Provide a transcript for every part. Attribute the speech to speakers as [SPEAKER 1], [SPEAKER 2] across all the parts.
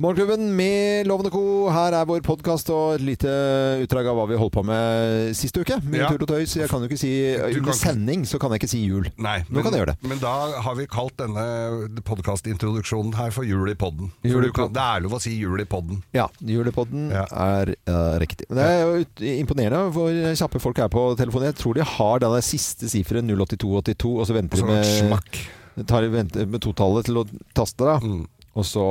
[SPEAKER 1] Morgenklubben med Lovende Co. Her er vår podkast og et lite utdrag av hva vi holdt på med sist uke. Mye
[SPEAKER 2] Ja.
[SPEAKER 1] tull og tøys. Jeg kan jo ikke si
[SPEAKER 2] Du kan
[SPEAKER 1] Under
[SPEAKER 2] ikke-
[SPEAKER 1] sending så kan jeg ikke si jul.
[SPEAKER 2] Nei,
[SPEAKER 1] Nå kan jeg gjøre det.
[SPEAKER 2] men da har vi kalt denne podcastintroduksjonen her for Jul i podden. For
[SPEAKER 1] Jul i
[SPEAKER 2] du kan,
[SPEAKER 1] podden.
[SPEAKER 2] det er lov å si Jul i podden.
[SPEAKER 1] Ja. Julepodden
[SPEAKER 2] Ja.
[SPEAKER 1] er eh, riktig. Men Det er jo ut- imponerende hvor kjappe folk er på telefonen. Jeg tror de har den der siste siferen, 08282, og så venter de
[SPEAKER 2] Så
[SPEAKER 1] med,
[SPEAKER 2] smakk.
[SPEAKER 1] tar, venter med totallet til å taste, da.
[SPEAKER 2] Mm.
[SPEAKER 1] Og så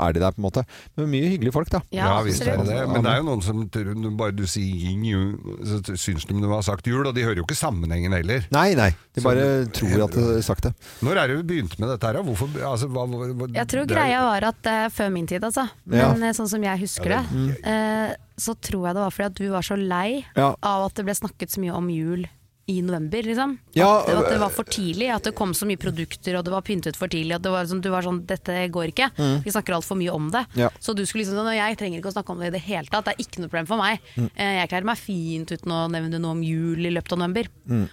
[SPEAKER 1] er de der, på en måte. Men mye hyggelige folk, da.
[SPEAKER 2] Ja, visst er det det.
[SPEAKER 1] absolutt.
[SPEAKER 2] Men det er jo noen som tror- når bare du sier yin, yu, så syns de du har sagt jul, og de hører jo ikke sammenhengen heller.
[SPEAKER 1] Nei, nei. De
[SPEAKER 2] Så-
[SPEAKER 1] bare tror at de har sagt det.
[SPEAKER 2] Når er det vi begynte med dette her? da? Hvorfor, altså, hva, hva,
[SPEAKER 3] Jeg tror
[SPEAKER 2] det er-
[SPEAKER 3] greia var at det er før min tid, altså.
[SPEAKER 1] Ja. mm.
[SPEAKER 3] Men eh, sånn som jeg husker det, eh, så tror jeg det var fordi at du var så lei
[SPEAKER 1] Ja.
[SPEAKER 3] av at det ble snakket så mye om jul i november, liksom.
[SPEAKER 1] Ja, eh,
[SPEAKER 3] at, det, at det var for tidlig, at det kom så mye produkter, og det var pyntet for tidlig. At det var sånn, du var sånn 'dette går ikke', vi snakker altfor mye om det.
[SPEAKER 1] Mm. Ja.
[SPEAKER 3] Så du skulle liksom sånn 'jeg trenger ikke å snakke om det i det hele tatt', det er ikke noe problem for meg.
[SPEAKER 1] Mm.
[SPEAKER 3] Eh, Jeg klarer meg fint uten å nevne noe om jul i løpet av november.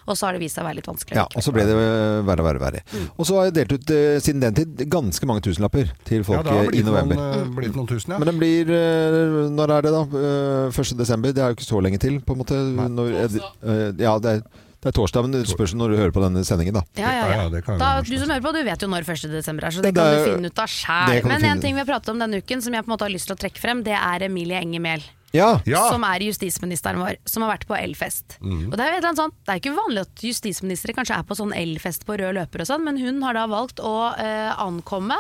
[SPEAKER 3] Og så har det vist seg å være litt vanskelig.
[SPEAKER 1] Mm. Ja, Mm. og så ble det eh, verre og verre. og verre. Og så har jeg delt ut eh, siden den tid ganske mange tusenlapper til
[SPEAKER 2] ja,
[SPEAKER 1] folk
[SPEAKER 2] da har
[SPEAKER 1] eh,
[SPEAKER 2] det blitt
[SPEAKER 1] i november.
[SPEAKER 2] Noen, eh, blitt noen tusen, ja.
[SPEAKER 1] Men den blir eh, Når er det, da? Eh, 1. desember? Det er jo ikke så lenge til, på en måte. Når, eh, ja, det er, det er torsdag, men det spørs når du hører på denne sendingen, da.
[SPEAKER 3] Ja, ja,
[SPEAKER 2] Ja,
[SPEAKER 3] ja.
[SPEAKER 2] ja, det kan jo
[SPEAKER 3] da,
[SPEAKER 2] være
[SPEAKER 3] du som hører på, du vet jo når 1. desember er, så det,
[SPEAKER 1] Det
[SPEAKER 3] kan
[SPEAKER 1] er-
[SPEAKER 3] du finne ut av sjæl.
[SPEAKER 1] det kan du
[SPEAKER 3] Men
[SPEAKER 1] finne ut.
[SPEAKER 3] en ting vi har pratet om denne uken som jeg på en måte har lyst til å trekke frem, det er Emilie Enger Mehl.
[SPEAKER 1] Ja!
[SPEAKER 2] ja. Mhm.
[SPEAKER 3] Som er justisministeren vår, som har vært på elfest. Og Det er jo et eller annet sånt, det er ikke vanlig at justisministre kanskje er på sånn elfest på rød løper og sånn, men hun har da valgt å eh, ankomme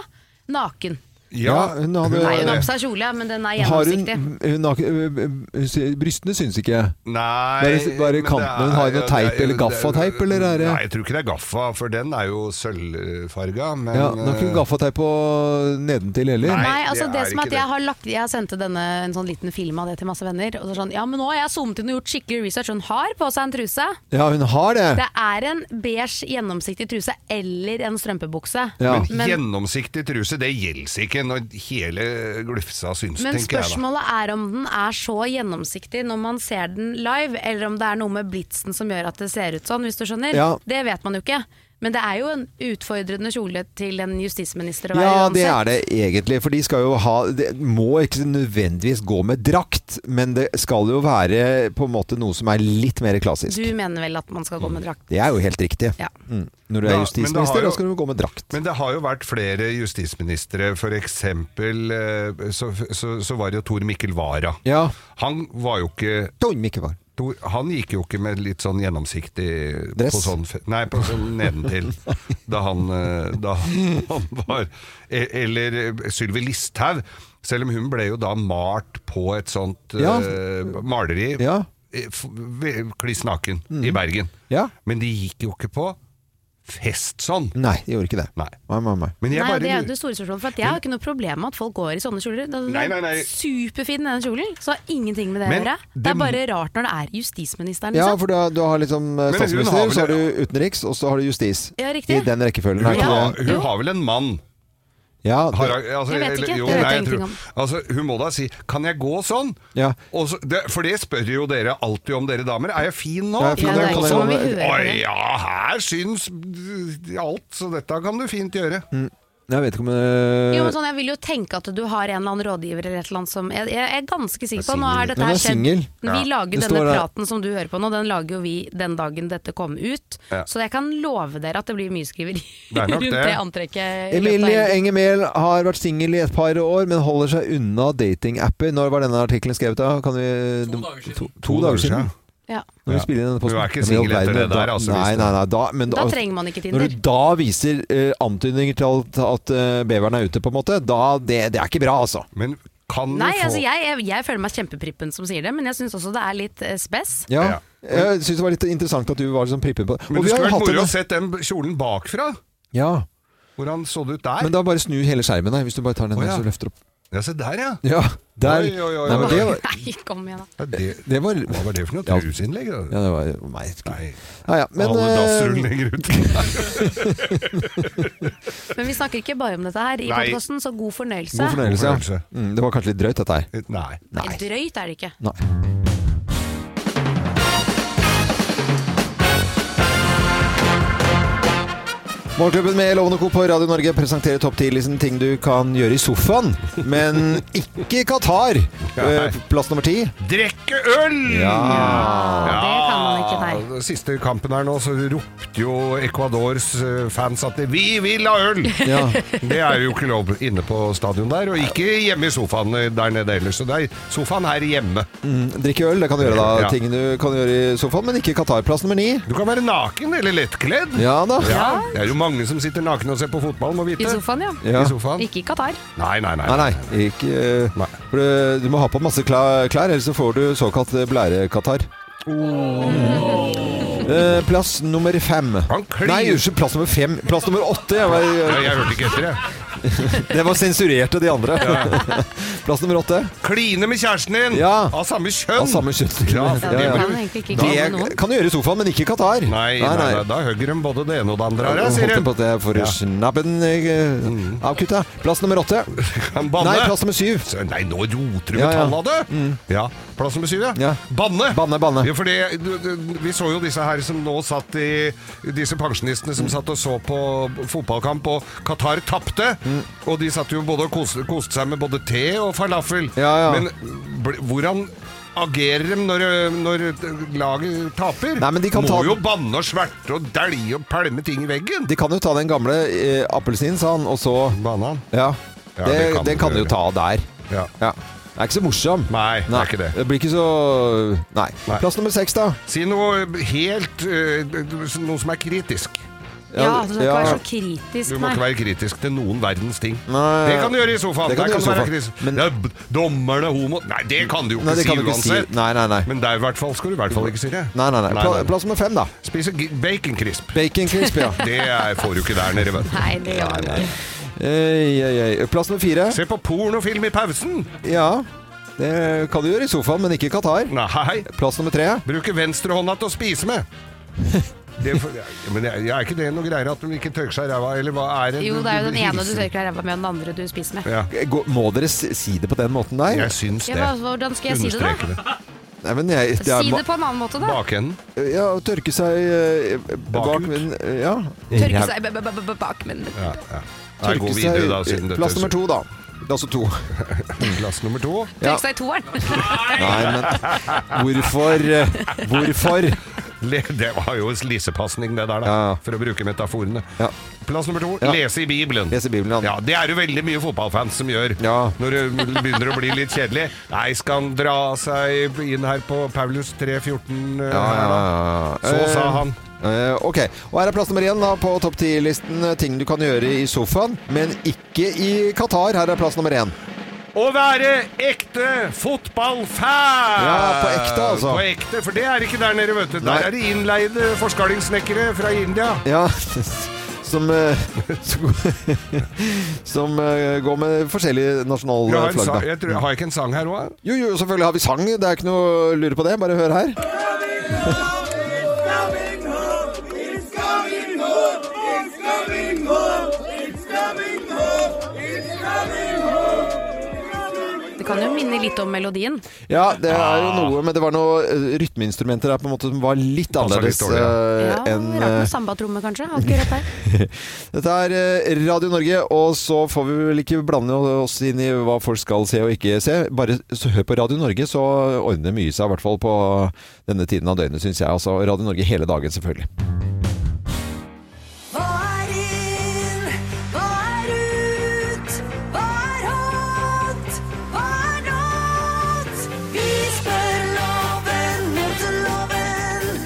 [SPEAKER 3] naken.
[SPEAKER 1] ja
[SPEAKER 2] Ja.
[SPEAKER 1] hun hadde
[SPEAKER 3] Nei,
[SPEAKER 2] er
[SPEAKER 3] hun har
[SPEAKER 2] det.
[SPEAKER 3] på seg kjole, men den er
[SPEAKER 1] har hun,
[SPEAKER 3] gjennomsiktig.
[SPEAKER 1] hun har, ikke- øh, øh, Brystene syns ikke.
[SPEAKER 2] Nei
[SPEAKER 1] liksom Bare- bare
[SPEAKER 2] men det
[SPEAKER 1] kanten hun har,
[SPEAKER 2] er-
[SPEAKER 1] noe teip
[SPEAKER 2] det er-
[SPEAKER 1] eller gaffateip, eller er det-
[SPEAKER 2] Nei, jeg tror ikke det er gaffa, for den er jo sølvfarga. Men eh,
[SPEAKER 1] Ja, Hun har ikke gaffateip på nedentil heller.
[SPEAKER 2] Nei,
[SPEAKER 3] Nei,
[SPEAKER 2] det
[SPEAKER 3] altså det,
[SPEAKER 2] er ikke
[SPEAKER 3] som er at
[SPEAKER 2] det.
[SPEAKER 3] jeg har lagt Jeg sendte denne en sånn liten film av det til masse venner. Og så er det sånn, ja, men nå har jeg zoomet inn og gjort skikkelig research. Hun har på seg en truse.
[SPEAKER 1] Ja, hun har det!
[SPEAKER 3] Det er en beige, gjennomsiktig truse eller en strømpebukse.
[SPEAKER 1] Ja.
[SPEAKER 2] Men,
[SPEAKER 3] Men-
[SPEAKER 2] gjennomsiktig truse, det gjelder ikke når hele glufsa syns,
[SPEAKER 3] Men
[SPEAKER 2] tenker jeg da.
[SPEAKER 3] spørsmålet er om den er så gjennomsiktig når man ser den live, eller om det er noe med blitsen som gjør at det ser ut sånn, hvis du skjønner.
[SPEAKER 1] Ja.
[SPEAKER 3] Det vet man jo ikke. Men det er jo en utfordrende kjole til en justisminister å være
[SPEAKER 1] Ja,
[SPEAKER 3] uansett.
[SPEAKER 1] det er det egentlig. For de skal jo ha Det må ikke nødvendigvis gå med drakt, men det skal jo være på en måte noe som er litt mer klassisk.
[SPEAKER 3] Du mener vel at man skal gå med drakt?
[SPEAKER 1] Det er jo helt riktig.
[SPEAKER 3] Ja.
[SPEAKER 1] Mm. Når du
[SPEAKER 2] Da-
[SPEAKER 1] er
[SPEAKER 2] men da har
[SPEAKER 1] justisminister,
[SPEAKER 2] jo-
[SPEAKER 1] da skal du gå med drakt.
[SPEAKER 2] Men det har jo vært flere justisministre, f.eks. Så, så, så var det jo Tor Mikkel Wara.
[SPEAKER 1] Ja.
[SPEAKER 2] Han var jo ikke
[SPEAKER 1] Tom ikke var.
[SPEAKER 2] Tor, han gikk jo ikke med litt sånn gjennomsiktig
[SPEAKER 1] Dress?
[SPEAKER 2] På sånn, fe- nei, på sånn nedentil. da, han, eh, da han var e- Eller Sylvi Listhaug. Selv om hun ble jo da malt på et sånt eh,
[SPEAKER 1] Ja.
[SPEAKER 2] maleri.
[SPEAKER 1] Ja. Mm.
[SPEAKER 2] eh, f- ve- Kliss naken i Bergen.
[SPEAKER 1] Ja.
[SPEAKER 2] Men de gikk jo ikke på fest sånn.
[SPEAKER 1] Nei, de gjorde ikke det.
[SPEAKER 2] Nei.
[SPEAKER 1] Nei, nei, nei.
[SPEAKER 2] Men jeg
[SPEAKER 3] Nei,
[SPEAKER 2] bare
[SPEAKER 3] det er jo
[SPEAKER 2] lurer-
[SPEAKER 3] det store spørsmålet, for at jeg har ikke noe problem med at folk går i sånne kjoler. Den er
[SPEAKER 2] Nei, nei, nei.
[SPEAKER 3] Superfin denne kjolen, så har ingenting med det å
[SPEAKER 2] Men
[SPEAKER 3] gjøre. Det
[SPEAKER 2] det-
[SPEAKER 3] er bare rart når det er justisministeren,
[SPEAKER 1] Ja,
[SPEAKER 3] liksom.
[SPEAKER 1] for du har, du har liksom eh,
[SPEAKER 2] Men hun
[SPEAKER 1] statsminister,
[SPEAKER 2] har vel-
[SPEAKER 1] så har du utenriks, og så har du justis.
[SPEAKER 3] Ja, riktig.
[SPEAKER 1] I den rekkefølgen. er
[SPEAKER 2] hun,
[SPEAKER 1] ikke
[SPEAKER 2] har,
[SPEAKER 1] det?
[SPEAKER 2] hun
[SPEAKER 3] Jo.
[SPEAKER 2] har vel en mann?
[SPEAKER 1] Ja,
[SPEAKER 2] Har,
[SPEAKER 1] det,
[SPEAKER 2] altså,
[SPEAKER 3] Jeg vet ikke.
[SPEAKER 2] eller- Jo,
[SPEAKER 3] Det vet
[SPEAKER 2] nei,
[SPEAKER 3] jeg
[SPEAKER 2] jeg tror,
[SPEAKER 3] ingenting om.
[SPEAKER 2] altså, hun må da si 'kan jeg gå sånn'?
[SPEAKER 1] Ja.
[SPEAKER 2] Og så, det, for det spør jo dere alltid om, dere damer. Er jeg fin nå?
[SPEAKER 1] Ja, jeg er fin Ja, nå, det er kan ikke jeg- sånn vi
[SPEAKER 3] hører på
[SPEAKER 2] Oi,
[SPEAKER 3] det.
[SPEAKER 2] ja, her syns alt, så dette kan du fint gjøre.
[SPEAKER 1] Mm. jeg vet ikke om eh,
[SPEAKER 3] Jo, men sånn, jeg vil jo tenke at du har en eller annen rådgiver eller et eller annet som Jeg, jeg er ganske sikker på Nå er dette
[SPEAKER 1] Hun er
[SPEAKER 3] her skjedd.
[SPEAKER 1] singel.
[SPEAKER 3] Vi lager
[SPEAKER 1] Det
[SPEAKER 3] denne
[SPEAKER 1] står der.
[SPEAKER 3] praten som du hører på nå, den lager jo vi den dagen dette kom ut.
[SPEAKER 2] Ja.
[SPEAKER 3] Så jeg kan love dere at det blir mye skriveri
[SPEAKER 2] er nok
[SPEAKER 3] rundt
[SPEAKER 2] det.
[SPEAKER 3] det, antrekket. i løpet av
[SPEAKER 1] Emilie
[SPEAKER 3] helgen.
[SPEAKER 1] Enger Mehl har vært singel i et par år, men holder seg unna datingapper. Når var denne artikkelen skrevet? da? Kan vi, to, dager siden. To, dager siden.
[SPEAKER 3] Ja.
[SPEAKER 1] Når
[SPEAKER 2] Ja.
[SPEAKER 1] vi spiller inn denne posten.
[SPEAKER 2] Hun er ikke
[SPEAKER 1] Ja, men i all
[SPEAKER 2] singel etter
[SPEAKER 1] verden,
[SPEAKER 2] det der,
[SPEAKER 1] da-
[SPEAKER 2] altså,
[SPEAKER 1] Nei,
[SPEAKER 2] hvis det-
[SPEAKER 1] nei, nei, da, men
[SPEAKER 3] Da trenger man
[SPEAKER 1] når
[SPEAKER 3] ikke Tinder.
[SPEAKER 1] du da viser eh, antydninger til at, at eh, beveren er ute, på en måte, da det, det er ikke bra, altså.
[SPEAKER 2] Men kan
[SPEAKER 3] Nei,
[SPEAKER 2] du få
[SPEAKER 3] altså jeg, jeg, jeg føler meg kjempeprippen som sier det, men jeg syns også det er litt eh, spess.
[SPEAKER 1] Ja. Eh,
[SPEAKER 2] Ja.
[SPEAKER 1] Jeg syns det var litt interessant at du var liksom prippen på
[SPEAKER 2] Men
[SPEAKER 1] Og
[SPEAKER 2] det
[SPEAKER 1] vi har
[SPEAKER 2] skulle
[SPEAKER 1] jo
[SPEAKER 2] vært
[SPEAKER 1] hatt
[SPEAKER 2] moro
[SPEAKER 1] en-
[SPEAKER 2] å sett den kjolen bakfra.
[SPEAKER 1] Ja.
[SPEAKER 2] Hvordan så det ut der?
[SPEAKER 1] Men da bare snu hele skjermen, nei, hvis du bare tar den
[SPEAKER 2] Å,
[SPEAKER 1] ned,
[SPEAKER 2] ja.
[SPEAKER 1] så løfter du opp.
[SPEAKER 2] Ja, se der, ja.
[SPEAKER 1] Ja, der.
[SPEAKER 2] Oi, oi, oi,
[SPEAKER 1] Nei, men
[SPEAKER 2] oi.
[SPEAKER 1] det var,
[SPEAKER 3] Nei, kom igjen, da.
[SPEAKER 2] Ja, Det,
[SPEAKER 1] det var
[SPEAKER 2] hva var det for noe
[SPEAKER 1] Ja.
[SPEAKER 2] trusinnlegg? da?
[SPEAKER 1] Ja, det var jo merkelig.
[SPEAKER 2] Nei,
[SPEAKER 1] Ja, ja, men
[SPEAKER 2] alle dassrull
[SPEAKER 1] eh,
[SPEAKER 2] legger ut.
[SPEAKER 3] Men vi snakker ikke bare om dette her i
[SPEAKER 2] Nei.
[SPEAKER 3] podkasten, så god fornøyelse.
[SPEAKER 1] god fornøyelse. Ja.
[SPEAKER 2] fornøyelse.
[SPEAKER 1] Mm, det var kanskje litt drøyt, dette her.
[SPEAKER 2] Nei.
[SPEAKER 3] Nei, Drøyt er det ikke.
[SPEAKER 1] Nei. Morgenklubben med Lovende Co. på Radio Norge presenterer topp 10-listen ting du kan gjøre i sofaen, men ikke i Qatar.
[SPEAKER 2] Nei.
[SPEAKER 1] Eh, Plass nummer ti.
[SPEAKER 2] Drikke øl!
[SPEAKER 1] Ah.
[SPEAKER 3] Det kan man ikke, nei.
[SPEAKER 2] den Siste kampen her nå, så ropte jo Ecuadors eh, fans at 'vi vil ha øl'!
[SPEAKER 1] Ja.
[SPEAKER 2] Det er jo ikke lov inne på stadion der, og ikke hjemme i sofaen eh, der nede heller. Så det er sofaen her hjemme.
[SPEAKER 1] Mm, Drikke øl, det kan du gjøre da.
[SPEAKER 2] Ja.
[SPEAKER 1] Ting du kan gjøre i sofaen, men ikke i Qatar. Plass nummer ni.
[SPEAKER 2] Du kan være naken eller lettkledd.
[SPEAKER 1] Ja da.
[SPEAKER 2] Ja, Det er jo mange som sitter nakne og ser på fotball, må vite.
[SPEAKER 3] I sofaen, ja.
[SPEAKER 1] Ja.
[SPEAKER 2] I sofaen.
[SPEAKER 3] Ikke i Qatar.
[SPEAKER 2] Nei, nei, nei.
[SPEAKER 1] Nei, nei. Ikke, eh,
[SPEAKER 2] Nei.
[SPEAKER 1] For du, du må ha på masse klær, klær ellers så får du såkalt eh, blærekatar.
[SPEAKER 3] Oh.
[SPEAKER 1] Eh, plass nummer fem.
[SPEAKER 2] Han klin-
[SPEAKER 1] Nei, unnskyld. Plass nummer fem. Plass nummer åtte. Jeg
[SPEAKER 2] Ja,
[SPEAKER 1] var,
[SPEAKER 2] Jeg hørte ikke etter, jeg.
[SPEAKER 1] det var sensurert av de andre. Plass nummer åtte.
[SPEAKER 2] Kline med kjæresten din!
[SPEAKER 1] Ja.
[SPEAKER 2] Av samme kjønn!
[SPEAKER 1] Av samme kjønn.
[SPEAKER 2] Ja,
[SPEAKER 1] Ja,
[SPEAKER 3] Ja,
[SPEAKER 1] ja.
[SPEAKER 3] Du kan egentlig ikke gå med
[SPEAKER 1] Det
[SPEAKER 3] noen.
[SPEAKER 1] kan du gjøre i sofaen, men ikke i Qatar.
[SPEAKER 2] Nei, nei, nei, da hugger de både det ene og det andre her, jeg,
[SPEAKER 1] Jeg
[SPEAKER 2] sier
[SPEAKER 1] håper på
[SPEAKER 2] de.
[SPEAKER 1] at jeg får
[SPEAKER 2] Ja.
[SPEAKER 1] snabben eh, avkutta. Plass nummer åtte.
[SPEAKER 2] Kan
[SPEAKER 1] Nei,
[SPEAKER 2] banne.
[SPEAKER 1] plass nummer syv.
[SPEAKER 2] Så, eh, Nei, nå roter du med
[SPEAKER 1] Ja, ja.
[SPEAKER 2] tallene, du! Ja. Plass nummer syv, ja.
[SPEAKER 1] Ja.
[SPEAKER 2] Banne!
[SPEAKER 1] Banne, banne.
[SPEAKER 2] Ja, for det- du, du, vi så jo disse her som nå satt i Disse pensjonistene som satt og så på fotballkamp, og Qatar tapte.
[SPEAKER 1] Mm.
[SPEAKER 2] Og de satt jo både og koste, koste seg med både te og falafel.
[SPEAKER 1] Ja, ja.
[SPEAKER 2] Men bl, hvordan agerer de når, når laget taper?
[SPEAKER 1] Nei, men de kan
[SPEAKER 2] Må
[SPEAKER 1] ta-
[SPEAKER 2] jo banne og sverte og dælje og pælme ting i veggen!
[SPEAKER 1] De kan jo ta den gamle eh, appelsinen, sa han, og så
[SPEAKER 2] Banan.
[SPEAKER 1] Ja,
[SPEAKER 2] Ja,
[SPEAKER 1] det,
[SPEAKER 2] det
[SPEAKER 1] det kan,
[SPEAKER 2] kan du
[SPEAKER 1] du jo
[SPEAKER 2] gjøre.
[SPEAKER 1] ta der.
[SPEAKER 2] Ja.
[SPEAKER 1] Ja. Det er ikke så morsom.
[SPEAKER 2] Nei, det er ikke det.
[SPEAKER 1] blir ikke så Nei.
[SPEAKER 2] Nei.
[SPEAKER 1] Plass nummer seks, da.
[SPEAKER 2] Si noe helt eh, Noe som er kritisk.
[SPEAKER 3] Ja, altså, du skal ikke
[SPEAKER 1] ja.
[SPEAKER 3] være så kritisk,
[SPEAKER 2] Du må
[SPEAKER 3] nei.
[SPEAKER 2] ikke være kritisk til noen verdens ting.
[SPEAKER 1] Nei.
[SPEAKER 2] det kan du gjøre i sofaen.
[SPEAKER 1] Det kan
[SPEAKER 2] Der
[SPEAKER 1] du
[SPEAKER 2] kan du
[SPEAKER 1] gjøre i
[SPEAKER 2] være
[SPEAKER 1] sofaen.
[SPEAKER 2] kritisk.
[SPEAKER 1] Men-
[SPEAKER 2] ja, b- dommerne er homo Nei, det kan du jo ikke
[SPEAKER 1] Nei, det
[SPEAKER 2] si
[SPEAKER 1] kan du ikke si.
[SPEAKER 2] uansett.
[SPEAKER 1] Nei, nei, nei.
[SPEAKER 2] Men der i hvert fall skal du i hvert fall ikke si det.
[SPEAKER 1] Nei, nei, nei. Pla, plass nummer fem, da.
[SPEAKER 2] Spise gi- bacon crisp.
[SPEAKER 1] Bacon crisp, ja.
[SPEAKER 2] Det er, får du ikke der nede, vet du.
[SPEAKER 3] Nei, det gjør man ikke.
[SPEAKER 1] Ei, ei, ei. Plass nummer fire.
[SPEAKER 2] Se på pornofilm i pausen!
[SPEAKER 1] Ja. Det kan du gjøre i sofaen, men ikke i Qatar.
[SPEAKER 2] Nei.
[SPEAKER 1] Plass nummer tre.
[SPEAKER 2] Bruke venstrehånda til å spise med. Det, for- ja, men jeg, jeg er ikke det noe greier at de ikke tørker seg i ræva, eller hva er det?
[SPEAKER 3] Jo, det er jo den ene du
[SPEAKER 2] Hilsen.
[SPEAKER 3] tørker deg ræva med, og den andre du spiser med.
[SPEAKER 2] Ja,
[SPEAKER 1] Gå- Må dere s- si det på den måten der?
[SPEAKER 2] jeg syns
[SPEAKER 3] Ja,
[SPEAKER 2] det.
[SPEAKER 3] hva- hvordan skal jeg si det, da?
[SPEAKER 2] Understreker det.
[SPEAKER 1] Nei, men jeg, det er,
[SPEAKER 3] Si det på en annen måte, da.
[SPEAKER 2] Bakenden.
[SPEAKER 1] ja, å tørke seg eh, bak
[SPEAKER 2] Bakut.
[SPEAKER 1] men, Ja.
[SPEAKER 3] Tørke seg b- b- b- b- bak munnen.
[SPEAKER 2] Ja, ja. Nei,
[SPEAKER 1] Tørke
[SPEAKER 2] gå
[SPEAKER 1] seg-
[SPEAKER 2] videre, da, siden
[SPEAKER 1] Plass nummer
[SPEAKER 2] dette
[SPEAKER 1] to, da. Det er altså to.
[SPEAKER 2] Plass nummer to.
[SPEAKER 1] Ja.
[SPEAKER 3] Tørke seg i toeren.
[SPEAKER 1] Nei, men hvorfor? eh, Hvorfor?
[SPEAKER 2] Le, det var jo en lisepasning, det der, da,
[SPEAKER 1] Ja, ja.
[SPEAKER 2] for å bruke metaforene.
[SPEAKER 1] Ja.
[SPEAKER 2] Plass nummer to
[SPEAKER 1] Ja.
[SPEAKER 2] lese i Bibelen.
[SPEAKER 1] Lese Bibelen, ja.
[SPEAKER 2] ja. Det er jo veldig mye fotballfans som gjør
[SPEAKER 1] Ja.
[SPEAKER 2] når det begynner å bli litt kjedelig. Nei, skal han dra seg inn her på Paulus 3.14 eh, her, da? Så sa han.
[SPEAKER 1] Eh, ok, og her er plass nummer én da, på topp ti-listen. eh, Ting du kan gjøre i sofaen, men ikke i Qatar. Her er plass nummer én.
[SPEAKER 2] Å være ekte fotballfan!
[SPEAKER 1] Ja, på ekte, altså.
[SPEAKER 2] På ekte, For det er ikke der nede, vet du.
[SPEAKER 1] Nei.
[SPEAKER 2] Der er det innleide forskalingssnekkere fra India.
[SPEAKER 1] Ja, som eh, Som, som eh, går med forskjellige
[SPEAKER 2] Jeg har,
[SPEAKER 1] nasjonale
[SPEAKER 2] en
[SPEAKER 1] flagg,
[SPEAKER 2] sang,
[SPEAKER 1] da.
[SPEAKER 2] jeg tror, har jeg ikke en sang her òg?
[SPEAKER 1] Jo, jo, selvfølgelig har vi sang. Det er ikke noe å lure på det. Bare hør her.
[SPEAKER 3] Det kan jo minne litt om melodien.
[SPEAKER 1] Ja, det er
[SPEAKER 2] Ah.
[SPEAKER 1] jo noe, men det var noen eh, rytmeinstrumenter der på en måte som var litt
[SPEAKER 2] Passer
[SPEAKER 1] annerledes
[SPEAKER 2] litt
[SPEAKER 1] eh,
[SPEAKER 3] Ja, Rart
[SPEAKER 1] enn
[SPEAKER 3] med
[SPEAKER 1] eh,
[SPEAKER 3] sambatromme, kanskje. Akkurat der.
[SPEAKER 1] Dette er eh, Radio Norge, og så får vi vel ikke blande oss inn i hva folk skal se og ikke se. Bare så hør på Radio Norge, så ordner mye seg, i hvert fall på denne tiden av døgnet, syns jeg. Altså Radio Norge hele dagen, selvfølgelig.
[SPEAKER 4] Hva er inn? Hva er ut? Hva er hot? Hva er not? Vi spør loven mot loven.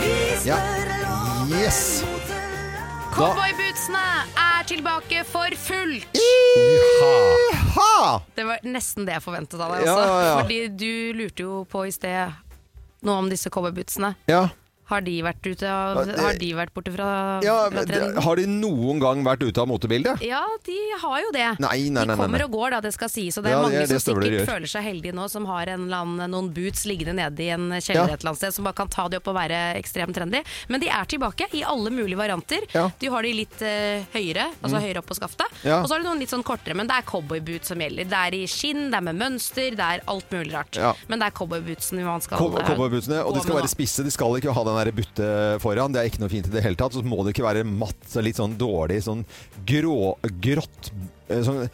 [SPEAKER 4] Vi
[SPEAKER 1] Ja.
[SPEAKER 4] spør loven
[SPEAKER 1] Yes.
[SPEAKER 4] mot loven.
[SPEAKER 3] Cowboybootsene er tilbake for fullt!
[SPEAKER 1] Ha!
[SPEAKER 3] Det var nesten det jeg forventet av deg.
[SPEAKER 1] Ja,
[SPEAKER 3] Altså.
[SPEAKER 1] ja, ja.
[SPEAKER 3] Fordi du lurte jo på i sted noe om disse cowboybootsene.
[SPEAKER 1] Ja.
[SPEAKER 3] Har de vært, ute av,
[SPEAKER 1] Ja, det-
[SPEAKER 3] har de vært borte fra,
[SPEAKER 1] Ja,
[SPEAKER 3] fra
[SPEAKER 1] men
[SPEAKER 3] trenden?
[SPEAKER 1] det- ah. Har de noen gang vært ute av motebildet?
[SPEAKER 3] Ja, de har jo det.
[SPEAKER 1] Nei, nei, nei,
[SPEAKER 3] de
[SPEAKER 1] nei,
[SPEAKER 3] kommer
[SPEAKER 1] nei.
[SPEAKER 3] og går, da, det skal sies. Og det er
[SPEAKER 1] Ja, det
[SPEAKER 3] mange
[SPEAKER 1] er det
[SPEAKER 3] som
[SPEAKER 1] støvler
[SPEAKER 3] sikkert
[SPEAKER 1] gjør.
[SPEAKER 3] føler seg heldige nå, som har en eller annen, noen boots liggende nede i en
[SPEAKER 1] Ja.
[SPEAKER 3] kjeller et eller annet sted, som bare kan ta de opp og være ekstremt trendy. Men de er tilbake i alle mulige varianter.
[SPEAKER 1] Ja. Mm.
[SPEAKER 3] Du har de litt eh, høyere, altså høyere opp på skaftet.
[SPEAKER 1] Ja.
[SPEAKER 3] Og så har du noen litt sånn kortere, men det er cowboyboot som gjelder. Det er i skinn, det er med mønster, det er alt mulig rart.
[SPEAKER 1] Ja.
[SPEAKER 3] Men det er cowboybootsen man skal
[SPEAKER 1] Kom- Cowboybootsene, og de
[SPEAKER 3] gå
[SPEAKER 1] skal
[SPEAKER 3] med
[SPEAKER 1] være
[SPEAKER 3] nå.
[SPEAKER 1] spisse. De skal ikke ha den der butte foran. Det er ikke noe fint i det hele tatt. Så må det ikke være matt, så litt sånn dårlig, sånn grå, grått eh, sånn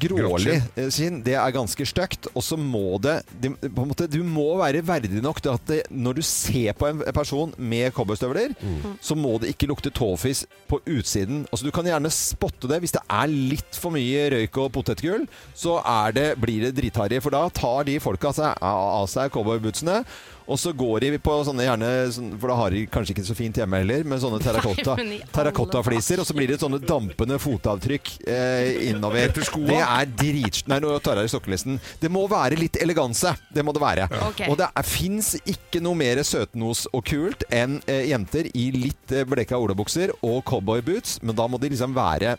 [SPEAKER 1] Grålig
[SPEAKER 2] Grått
[SPEAKER 1] eh, skinn. Det er ganske stygt. Og så må det de, på en måte, Du må være verdig nok til at det, når du ser på en person med cowboystøvler,
[SPEAKER 3] Mm.
[SPEAKER 1] så må det ikke lukte tåfis på utsiden. Altså, du kan gjerne spotte det. Hvis det er litt for mye røyk og potetgull, så er det, blir det dritharry. For da tar de folka seg, av seg cowboybootsene. Og så går de på sånne gjerne sånn- For da har de kanskje ikke så fint hjemme heller, men sånne terrakotta-
[SPEAKER 3] men i alle
[SPEAKER 1] terrakottafliser. og så blir det sånne dampende fotavtrykk eh, innover.
[SPEAKER 2] Etter skoa.
[SPEAKER 1] Det er drit... Nei, nå tar jeg i sokkelisten. Det må være litt eleganse. Det må det være.
[SPEAKER 3] Ok.
[SPEAKER 1] Og det fins ikke noe mer søtnos og kult enn eh, jenter i litt eh, bleka olabukser og cowboyboots, men da må de liksom være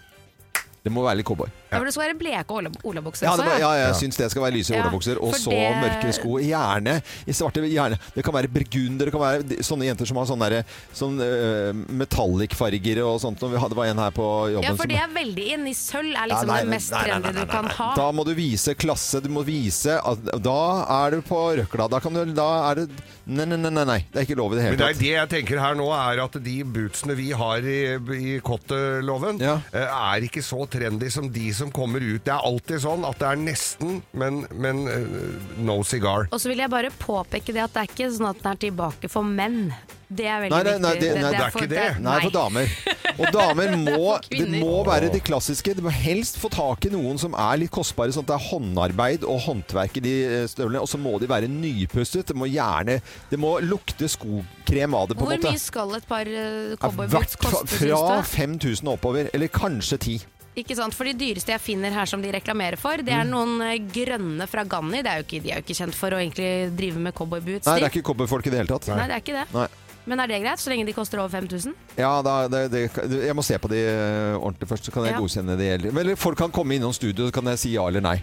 [SPEAKER 1] Det må være litt cowboy.
[SPEAKER 3] Ja, for det skal være bleke ola- olabukser
[SPEAKER 1] Ja, det
[SPEAKER 3] også,
[SPEAKER 1] må,
[SPEAKER 3] ja.
[SPEAKER 1] ja, jeg syns det skal være lyse
[SPEAKER 3] Ja,
[SPEAKER 1] olabukser. Og
[SPEAKER 3] for
[SPEAKER 1] så
[SPEAKER 3] det-
[SPEAKER 1] mørkere sko. Gjerne i svarte. Gjerne. Det kan være burgunder, det kan være de- sånne jenter som har sånn sånne, der, sånne øh, metallic-farger og sånt. Og vi hadde, det var en her på jobben
[SPEAKER 3] Ja, for
[SPEAKER 1] som-
[SPEAKER 3] det er veldig inn. I sølv er
[SPEAKER 1] Ja,
[SPEAKER 3] liksom
[SPEAKER 1] nei,
[SPEAKER 3] det
[SPEAKER 1] nei,
[SPEAKER 3] mest
[SPEAKER 1] nei, nei,
[SPEAKER 3] trendy
[SPEAKER 1] nei,
[SPEAKER 3] du
[SPEAKER 1] nei,
[SPEAKER 3] kan
[SPEAKER 1] nei.
[SPEAKER 3] ha.
[SPEAKER 1] Da må du vise klasse, du må vise at- Da er du på røkla. Da, kan du, da er det nei, nei, nei, nei, nei. Det er ikke lov i det hele
[SPEAKER 2] Men det, er
[SPEAKER 1] tatt.
[SPEAKER 2] det jeg tenker her nå, er at de bootsene vi har i, i kotteloven,
[SPEAKER 1] Ja.
[SPEAKER 2] eh, er ikke så trendy som de som kommer ut. Det er alltid sånn at det er nesten, men, men eh, no cigar.
[SPEAKER 3] Og så vil jeg bare påpeke det at det er ikke sånn at den er tilbake for menn. Det er veldig
[SPEAKER 1] Nei, nei, nei,
[SPEAKER 3] viktig.
[SPEAKER 1] det- nei, det
[SPEAKER 2] er ikke det.
[SPEAKER 1] Nei, for damer. Og damer må,
[SPEAKER 3] For
[SPEAKER 1] det
[SPEAKER 3] kvinner.
[SPEAKER 1] må være de klassiske. Du må helst få tak i noen som er litt kostbare, sånn at det er håndarbeid og håndverk i de eh, støvlene. Og så må de være nypustet. Det må gjerne Det må lukte skokrem av det, på
[SPEAKER 3] Hvor
[SPEAKER 1] en måte.
[SPEAKER 3] mye skal et par eh,
[SPEAKER 1] Ja,
[SPEAKER 3] cowboyboots
[SPEAKER 1] hvert
[SPEAKER 3] koste,
[SPEAKER 1] fra
[SPEAKER 3] syns
[SPEAKER 1] 5000 og oppover. Eller kanskje 10.
[SPEAKER 3] du? Ikke sant? For de dyreste jeg finner her som de reklamerer for, det
[SPEAKER 1] Mm.
[SPEAKER 3] er noen eh, grønne fra Ganni. Det er jo ikke, de er jo ikke kjent for å egentlig drive med cowboyboots.
[SPEAKER 1] Nei, det
[SPEAKER 3] de.
[SPEAKER 1] er ikke cowboyfolk i det hele tatt.
[SPEAKER 3] Nei, det er ikke det.
[SPEAKER 1] Nei.
[SPEAKER 3] Men er det greit, så lenge de koster over 5000?
[SPEAKER 1] Ja, da, det, det, jeg må se på de eh, ordentlig først, så kan jeg
[SPEAKER 3] Ja.
[SPEAKER 1] godkjenne de eldre. Eller folk kan komme innom studio, så kan jeg si ja eller nei.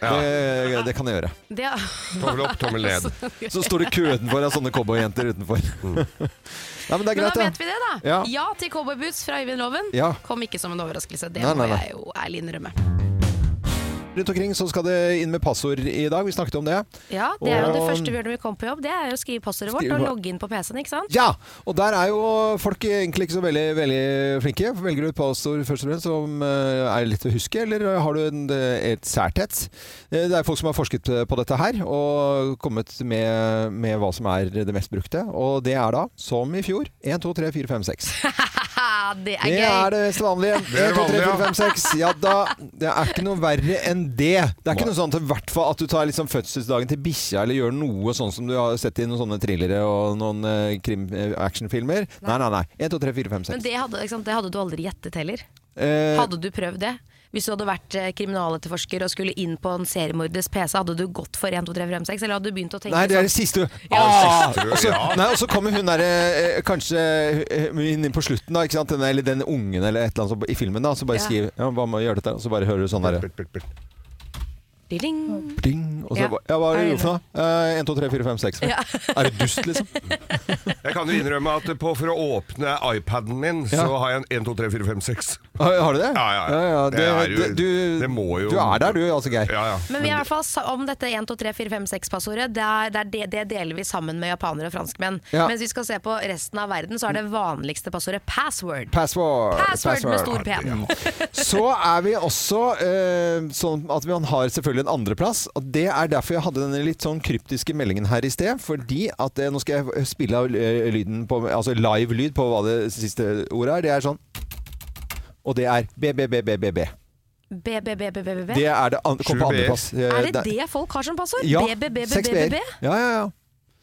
[SPEAKER 1] Det, det kan jeg gjøre.
[SPEAKER 3] Det,
[SPEAKER 2] Tommel opp, tommel ned.
[SPEAKER 1] Så står det kø utenfor av sånne cowboyjenter utenfor. Nei, men det er
[SPEAKER 3] men da
[SPEAKER 1] greit,
[SPEAKER 3] vet vi
[SPEAKER 1] det.
[SPEAKER 3] det, da.
[SPEAKER 1] Ja.
[SPEAKER 3] Ja, til cowboyboots fra Øyvind Loven.
[SPEAKER 1] Ja.
[SPEAKER 3] Kom ikke som en overraskelse. Det
[SPEAKER 1] Nei, nei,
[SPEAKER 3] må
[SPEAKER 1] nei.
[SPEAKER 3] jeg jo ærlig innrømme.
[SPEAKER 1] Rundt omkring så skal det inn med passord i dag. Vi snakket om det.
[SPEAKER 3] Ja, det er jo det
[SPEAKER 1] Og-
[SPEAKER 3] første vi gjør når vi kommer på jobb. Det er jo å skrive passordet vårt
[SPEAKER 1] Skrive
[SPEAKER 3] og
[SPEAKER 1] på-
[SPEAKER 3] logge inn på PC-en, ikke sant?
[SPEAKER 1] Ja! Og der er jo folk egentlig ikke så veldig, veldig flinke. Velger du et passord først og fremst som eh, er lett å huske, eller har du en, et særthet? Eh, Det er folk som har forsket på dette her, og kommet med, med hva som er det mest brukte. Og det er da, som i fjor, 1, 2, 3, 4, 5, 6.
[SPEAKER 3] Haha, det er
[SPEAKER 1] Det
[SPEAKER 3] gøy!
[SPEAKER 1] er det mest vanlige.
[SPEAKER 2] Det er
[SPEAKER 1] 1, 2, 3, 4,
[SPEAKER 2] vanlig, ja.
[SPEAKER 1] 5, 6. Ja da. Det er ikke noe verre enn det. Det er ikke noe sånn til hvert fall at du tar liksom fødselsdagen til bikkja eller gjør noe sånn som du har sett i noen sånne thrillere og noen eh, krim, eh, actionfilmer. Nei, nei, nei. 1, 2, 3, 4, 5, 6.
[SPEAKER 3] Men det hadde, ikke sant? det hadde du aldri gjettet heller.
[SPEAKER 1] Eh,
[SPEAKER 3] Hadde du prøvd det? Hvis du hadde vært eh, kriminaletterforsker og skulle inn på en seriemorders PC, hadde du gått for 1, 2, 3, 4, 5, 6? Eller hadde du begynt å tenke
[SPEAKER 1] Nei, det er
[SPEAKER 3] sånn
[SPEAKER 1] det siste.
[SPEAKER 2] Ja,
[SPEAKER 1] Ah!
[SPEAKER 2] det siste,
[SPEAKER 1] Og så-
[SPEAKER 2] ja.
[SPEAKER 1] Nei, og så kommer hun der eh, kanskje eh, inn på slutten, da, ikke sant? Den, eller den ungen eller et eller annet som- i filmen, da, så bare
[SPEAKER 3] Ja.
[SPEAKER 1] skriver ja, 'Hva må jeg gjøre dette?' Og så bare hører du sånn derre
[SPEAKER 2] Bert, bert, bert.
[SPEAKER 3] Ding.
[SPEAKER 1] Pling, og så
[SPEAKER 3] Ja.
[SPEAKER 1] bare, ja, hva er det du
[SPEAKER 3] Er
[SPEAKER 1] gjorde for noe? Eh, 1, 2, 3, 4, 5, 6. Er du dust, liksom?
[SPEAKER 2] Jeg kan jo innrømme at på, for å åpne iPaden min, så
[SPEAKER 1] Ja.
[SPEAKER 2] har jeg en 1, 2, 3, 4, 5, 6.
[SPEAKER 1] Har, har du det?
[SPEAKER 2] Ja, ja, ja.
[SPEAKER 1] det,
[SPEAKER 2] Det er jo-
[SPEAKER 1] det, du,
[SPEAKER 2] det må jo-
[SPEAKER 1] du er der, du, altså, Geir.
[SPEAKER 2] Ja, ja.
[SPEAKER 3] Men vi er i hvert fall sa- om dette 1, 2, 3, 4, 5, 6-passordet. Det, er- det, er det, det deler vi sammen med japanere og franskmenn.
[SPEAKER 1] Ja.
[SPEAKER 3] Mens vi skal se på resten av verden, så er det vanligste passordet password.
[SPEAKER 1] Password.
[SPEAKER 3] Password med stor P.
[SPEAKER 1] Så er vi også eh, sånn at man har selvfølgelig en andreplass. Og det er derfor jeg hadde denne litt sånn kryptiske meldingen her i sted. Fordi at eh, Nå skal jeg spille av eh, lyden på Altså live lyd på hva det siste ordet er. Det er sånn Og det er BBBBBB.
[SPEAKER 3] B, B, B, B, B, B, B.
[SPEAKER 1] Det er det an kom på
[SPEAKER 2] Sju B-er.
[SPEAKER 1] andreplass. Eh,
[SPEAKER 3] Er det
[SPEAKER 1] der-
[SPEAKER 3] det folk har som passord?
[SPEAKER 1] Ja.
[SPEAKER 3] B, B, B, B,
[SPEAKER 1] seks
[SPEAKER 3] B,
[SPEAKER 1] B-er.
[SPEAKER 3] B, B?
[SPEAKER 1] Ja, ja, ja.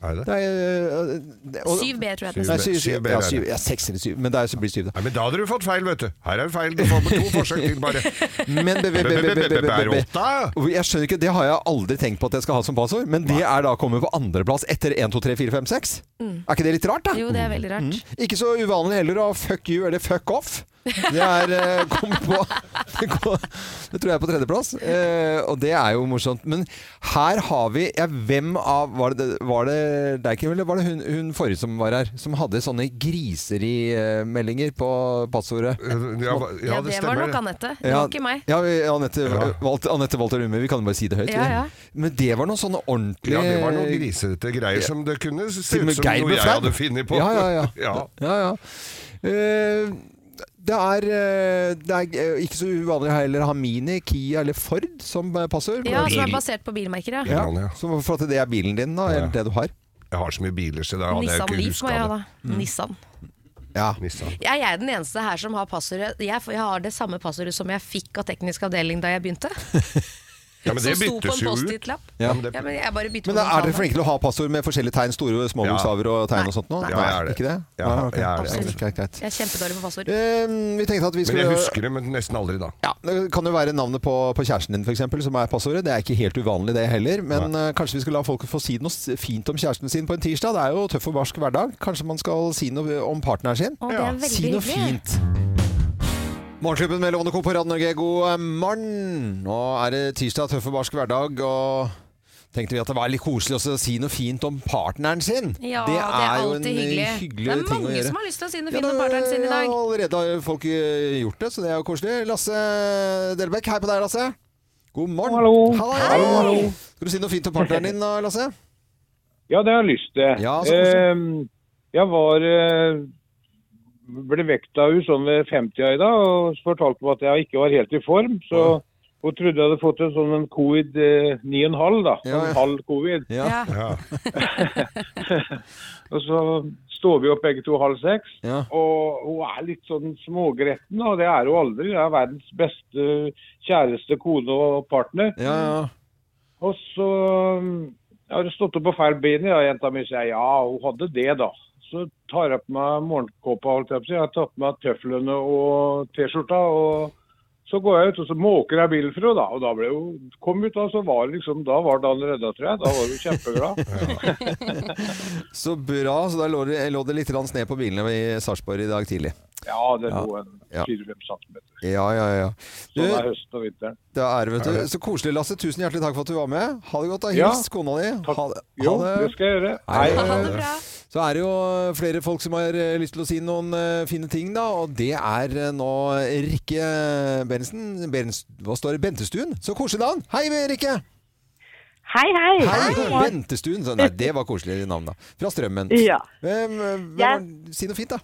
[SPEAKER 2] Er det det?
[SPEAKER 1] Det er, øh, det- og-
[SPEAKER 3] 7B tror jeg.
[SPEAKER 1] Nei,
[SPEAKER 3] den-
[SPEAKER 2] Syv.
[SPEAKER 1] syv,
[SPEAKER 2] Syv B,
[SPEAKER 1] ja,
[SPEAKER 2] det er
[SPEAKER 1] syv,
[SPEAKER 2] det.
[SPEAKER 1] ja, seks eller syv, men det er, så blir syv, da.
[SPEAKER 2] Nei, men da hadde du fått feil, vet du. Her er det feil. Du får med to forsøk til, bare.
[SPEAKER 1] Men be, be, be, be, be, be, be, be.
[SPEAKER 2] Åtta.
[SPEAKER 1] Jeg skjønner ikke, Det har jeg aldri tenkt på at jeg skal ha som passord, men det er da kommet på andreplass etter 1, 2, 3, 4, 5, 6. Er ikke det litt rart, da?
[SPEAKER 3] Jo, det er veldig rart.
[SPEAKER 1] Ikke så uvanlig heller å ha fuck you eller fuck off. Det er eh, kommet på det, går- det tror jeg er på tredjeplass, eh, og det er jo morsomt. Men her har vi ja, Hvem av Var det, var det Deichman, eller var det hun, hun forrige som var her, som hadde sånne griserimeldinger på passordet?
[SPEAKER 2] Ja,
[SPEAKER 5] Ja, det var nok
[SPEAKER 2] det.
[SPEAKER 5] Anette. Det var ikke meg.
[SPEAKER 1] Ja, vi- Anette,
[SPEAKER 2] Ja.
[SPEAKER 1] Walter- Anette Walter Lumme, vi kan jo bare si det høyt.
[SPEAKER 5] Ja,
[SPEAKER 1] vi.
[SPEAKER 5] ja.
[SPEAKER 1] Men det var sånn noen sånne ordentlige
[SPEAKER 2] Ja, det var noen grisete greier som det kunne se
[SPEAKER 1] Til og
[SPEAKER 2] ut
[SPEAKER 1] med
[SPEAKER 2] som
[SPEAKER 1] Geir
[SPEAKER 2] noe
[SPEAKER 1] ble
[SPEAKER 2] jeg
[SPEAKER 1] flau.
[SPEAKER 2] hadde funnet på.
[SPEAKER 1] Ja, ja, ja.
[SPEAKER 2] Ja.
[SPEAKER 1] ja, ja. Eh, det er, eh, det er eh, ikke så uvanlig heller å ha Mini, Kia eller Ford som eh, passord.
[SPEAKER 5] Ja,
[SPEAKER 1] Men-
[SPEAKER 5] Som er basert på bilmerker, ja.
[SPEAKER 2] Mm. Ja. Innlandet,
[SPEAKER 1] Så for at det er bilen din, da, eller det du har.
[SPEAKER 2] Jeg har så mye biler, så da hadde jeg
[SPEAKER 5] Nissan
[SPEAKER 2] ikke Mm.
[SPEAKER 5] Leaf må
[SPEAKER 2] huska
[SPEAKER 5] jeg ha,
[SPEAKER 2] det.
[SPEAKER 5] da. Nissan.
[SPEAKER 1] Ja.
[SPEAKER 2] Nissan.
[SPEAKER 5] Jeg er den eneste her som har passordet jeg, jeg har det samme passordet som jeg fikk av teknisk avdeling da jeg begynte.
[SPEAKER 2] Ja, men det
[SPEAKER 5] som sto på
[SPEAKER 2] byttes
[SPEAKER 5] en
[SPEAKER 2] jo ut.
[SPEAKER 5] Post-It-lapp.
[SPEAKER 1] Ja.
[SPEAKER 5] Ja. men jeg bare bytter
[SPEAKER 1] Men
[SPEAKER 5] på
[SPEAKER 1] da er
[SPEAKER 5] den
[SPEAKER 1] dere
[SPEAKER 5] talen.
[SPEAKER 1] flinke til å ha passord med forskjellige tegn, store og små
[SPEAKER 2] Ja.
[SPEAKER 1] bokstaver og tegn og sånt nå?
[SPEAKER 5] Nei.
[SPEAKER 2] Ja, jeg er det.
[SPEAKER 1] Ikke det?
[SPEAKER 2] Ja,
[SPEAKER 1] Ah, ok.
[SPEAKER 2] jeg er det.
[SPEAKER 1] Absolutt. Greit, greit.
[SPEAKER 5] Jeg er kjempedårlig på passord.
[SPEAKER 1] Eh, vi tenkte at vi
[SPEAKER 2] Men
[SPEAKER 1] skulle
[SPEAKER 2] jeg husker det, men nesten aldri da.
[SPEAKER 1] Ja, Det kan jo være navnet på, på kjæresten din for eksempel, som er passordet. Det er ikke helt uvanlig det heller. Men eh, kanskje vi skal la folk få si noe s- fint om kjæresten sin på en tirsdag. Det er jo tøff og barsk hverdag. Kanskje man skal si noe om partneren sin.
[SPEAKER 5] Å, det er veldig
[SPEAKER 1] Si noe
[SPEAKER 5] hyggelig.
[SPEAKER 1] fint. Morgenklubben med Lovende Co. på Radio Norge, god eh, morgen! Nå er det tirsdag, tøff og barsk hverdag. og... Tenkte vi at det var litt koselig også å si noe fint om partneren sin.
[SPEAKER 5] Ja, det er,
[SPEAKER 1] jo
[SPEAKER 5] alltid
[SPEAKER 1] en
[SPEAKER 5] hyggelig.
[SPEAKER 1] hyggelig
[SPEAKER 5] Det er
[SPEAKER 1] ting å
[SPEAKER 5] mange
[SPEAKER 1] gjøre.
[SPEAKER 5] som har lyst til å si noe
[SPEAKER 1] Ja,
[SPEAKER 5] fint om
[SPEAKER 1] det-
[SPEAKER 5] partneren sin i dag.
[SPEAKER 1] ja, Allerede har folk eh, gjort det, så det er jo koselig. Lasse Delbekk, hei på deg, Lasse. God morgen. Hallo. Hallo, Skal du si noe fint om partneren din, da, Lasse?
[SPEAKER 6] Ja, det har jeg lyst til.
[SPEAKER 1] Ja, så koselig.
[SPEAKER 6] Ehm, jeg var eh, ble vekt av henne sånn ved 50-a i dag og fortalte meg at jeg ikke var helt i form. Så hun trodde jeg hadde fått en sånn en covid eh, 9,5, da.
[SPEAKER 1] Ja, ja.
[SPEAKER 6] En halv covid.
[SPEAKER 5] Ja.
[SPEAKER 1] Ja.
[SPEAKER 2] Ja.
[SPEAKER 6] Og så står vi opp begge to halv seks.
[SPEAKER 1] Ja.
[SPEAKER 6] Og hun er litt sånn smågretten, og det er hun aldri. Hun er verdens beste kjæreste, kone og partner.
[SPEAKER 1] Ja, ja.
[SPEAKER 6] Og så mm, jeg har stått opp på feil ben, ja, jenta mi sier ja, hun hadde det, da. Så tar jeg på meg morgenkåpa, holdt jeg på å si. Jeg har tatt på meg tøflene og T-skjorta. og så går jeg ut, og så måker jeg bilen for henne, da. Og da ble hun kom ut, da, så var det liksom, da var dagen redda, tror jeg. Da var hun kjempeglad.
[SPEAKER 1] Så bra. Så da lå det, lå det litt grann sne på bilene i Sarpsborg i dag tidlig.
[SPEAKER 6] Ja, det lå en
[SPEAKER 1] Ja.
[SPEAKER 6] 4-5 cm.
[SPEAKER 1] Ja, ja, ja. Du,
[SPEAKER 6] Sånn er høsten og vinteren.
[SPEAKER 1] det er, vet du. Så koselig, Lasse. Tusen hjertelig takk for at du var med. Ha det godt, da.
[SPEAKER 6] Ja.
[SPEAKER 1] Hils kona di.
[SPEAKER 6] Takk.
[SPEAKER 1] Ha det.
[SPEAKER 6] Jo,
[SPEAKER 1] Ha
[SPEAKER 6] det skal jeg gjøre.
[SPEAKER 1] Hei.
[SPEAKER 3] Ha det bra.
[SPEAKER 1] Så er det jo flere folk som har eh, lyst til å si noen eh, fine ting, da. Og det er eh, nå Rikke Berentsen. Berens, hva står det? Bentestuen? Så koselig navn! Hei, Rikke!
[SPEAKER 7] Hei, hei.
[SPEAKER 1] Hei, Bentestuen. Så, nei, det var koselig navn, da. Fra Strømmen.
[SPEAKER 7] Ja.
[SPEAKER 1] Hvem, hvem,
[SPEAKER 7] Jeg-
[SPEAKER 1] Si noe fint, da.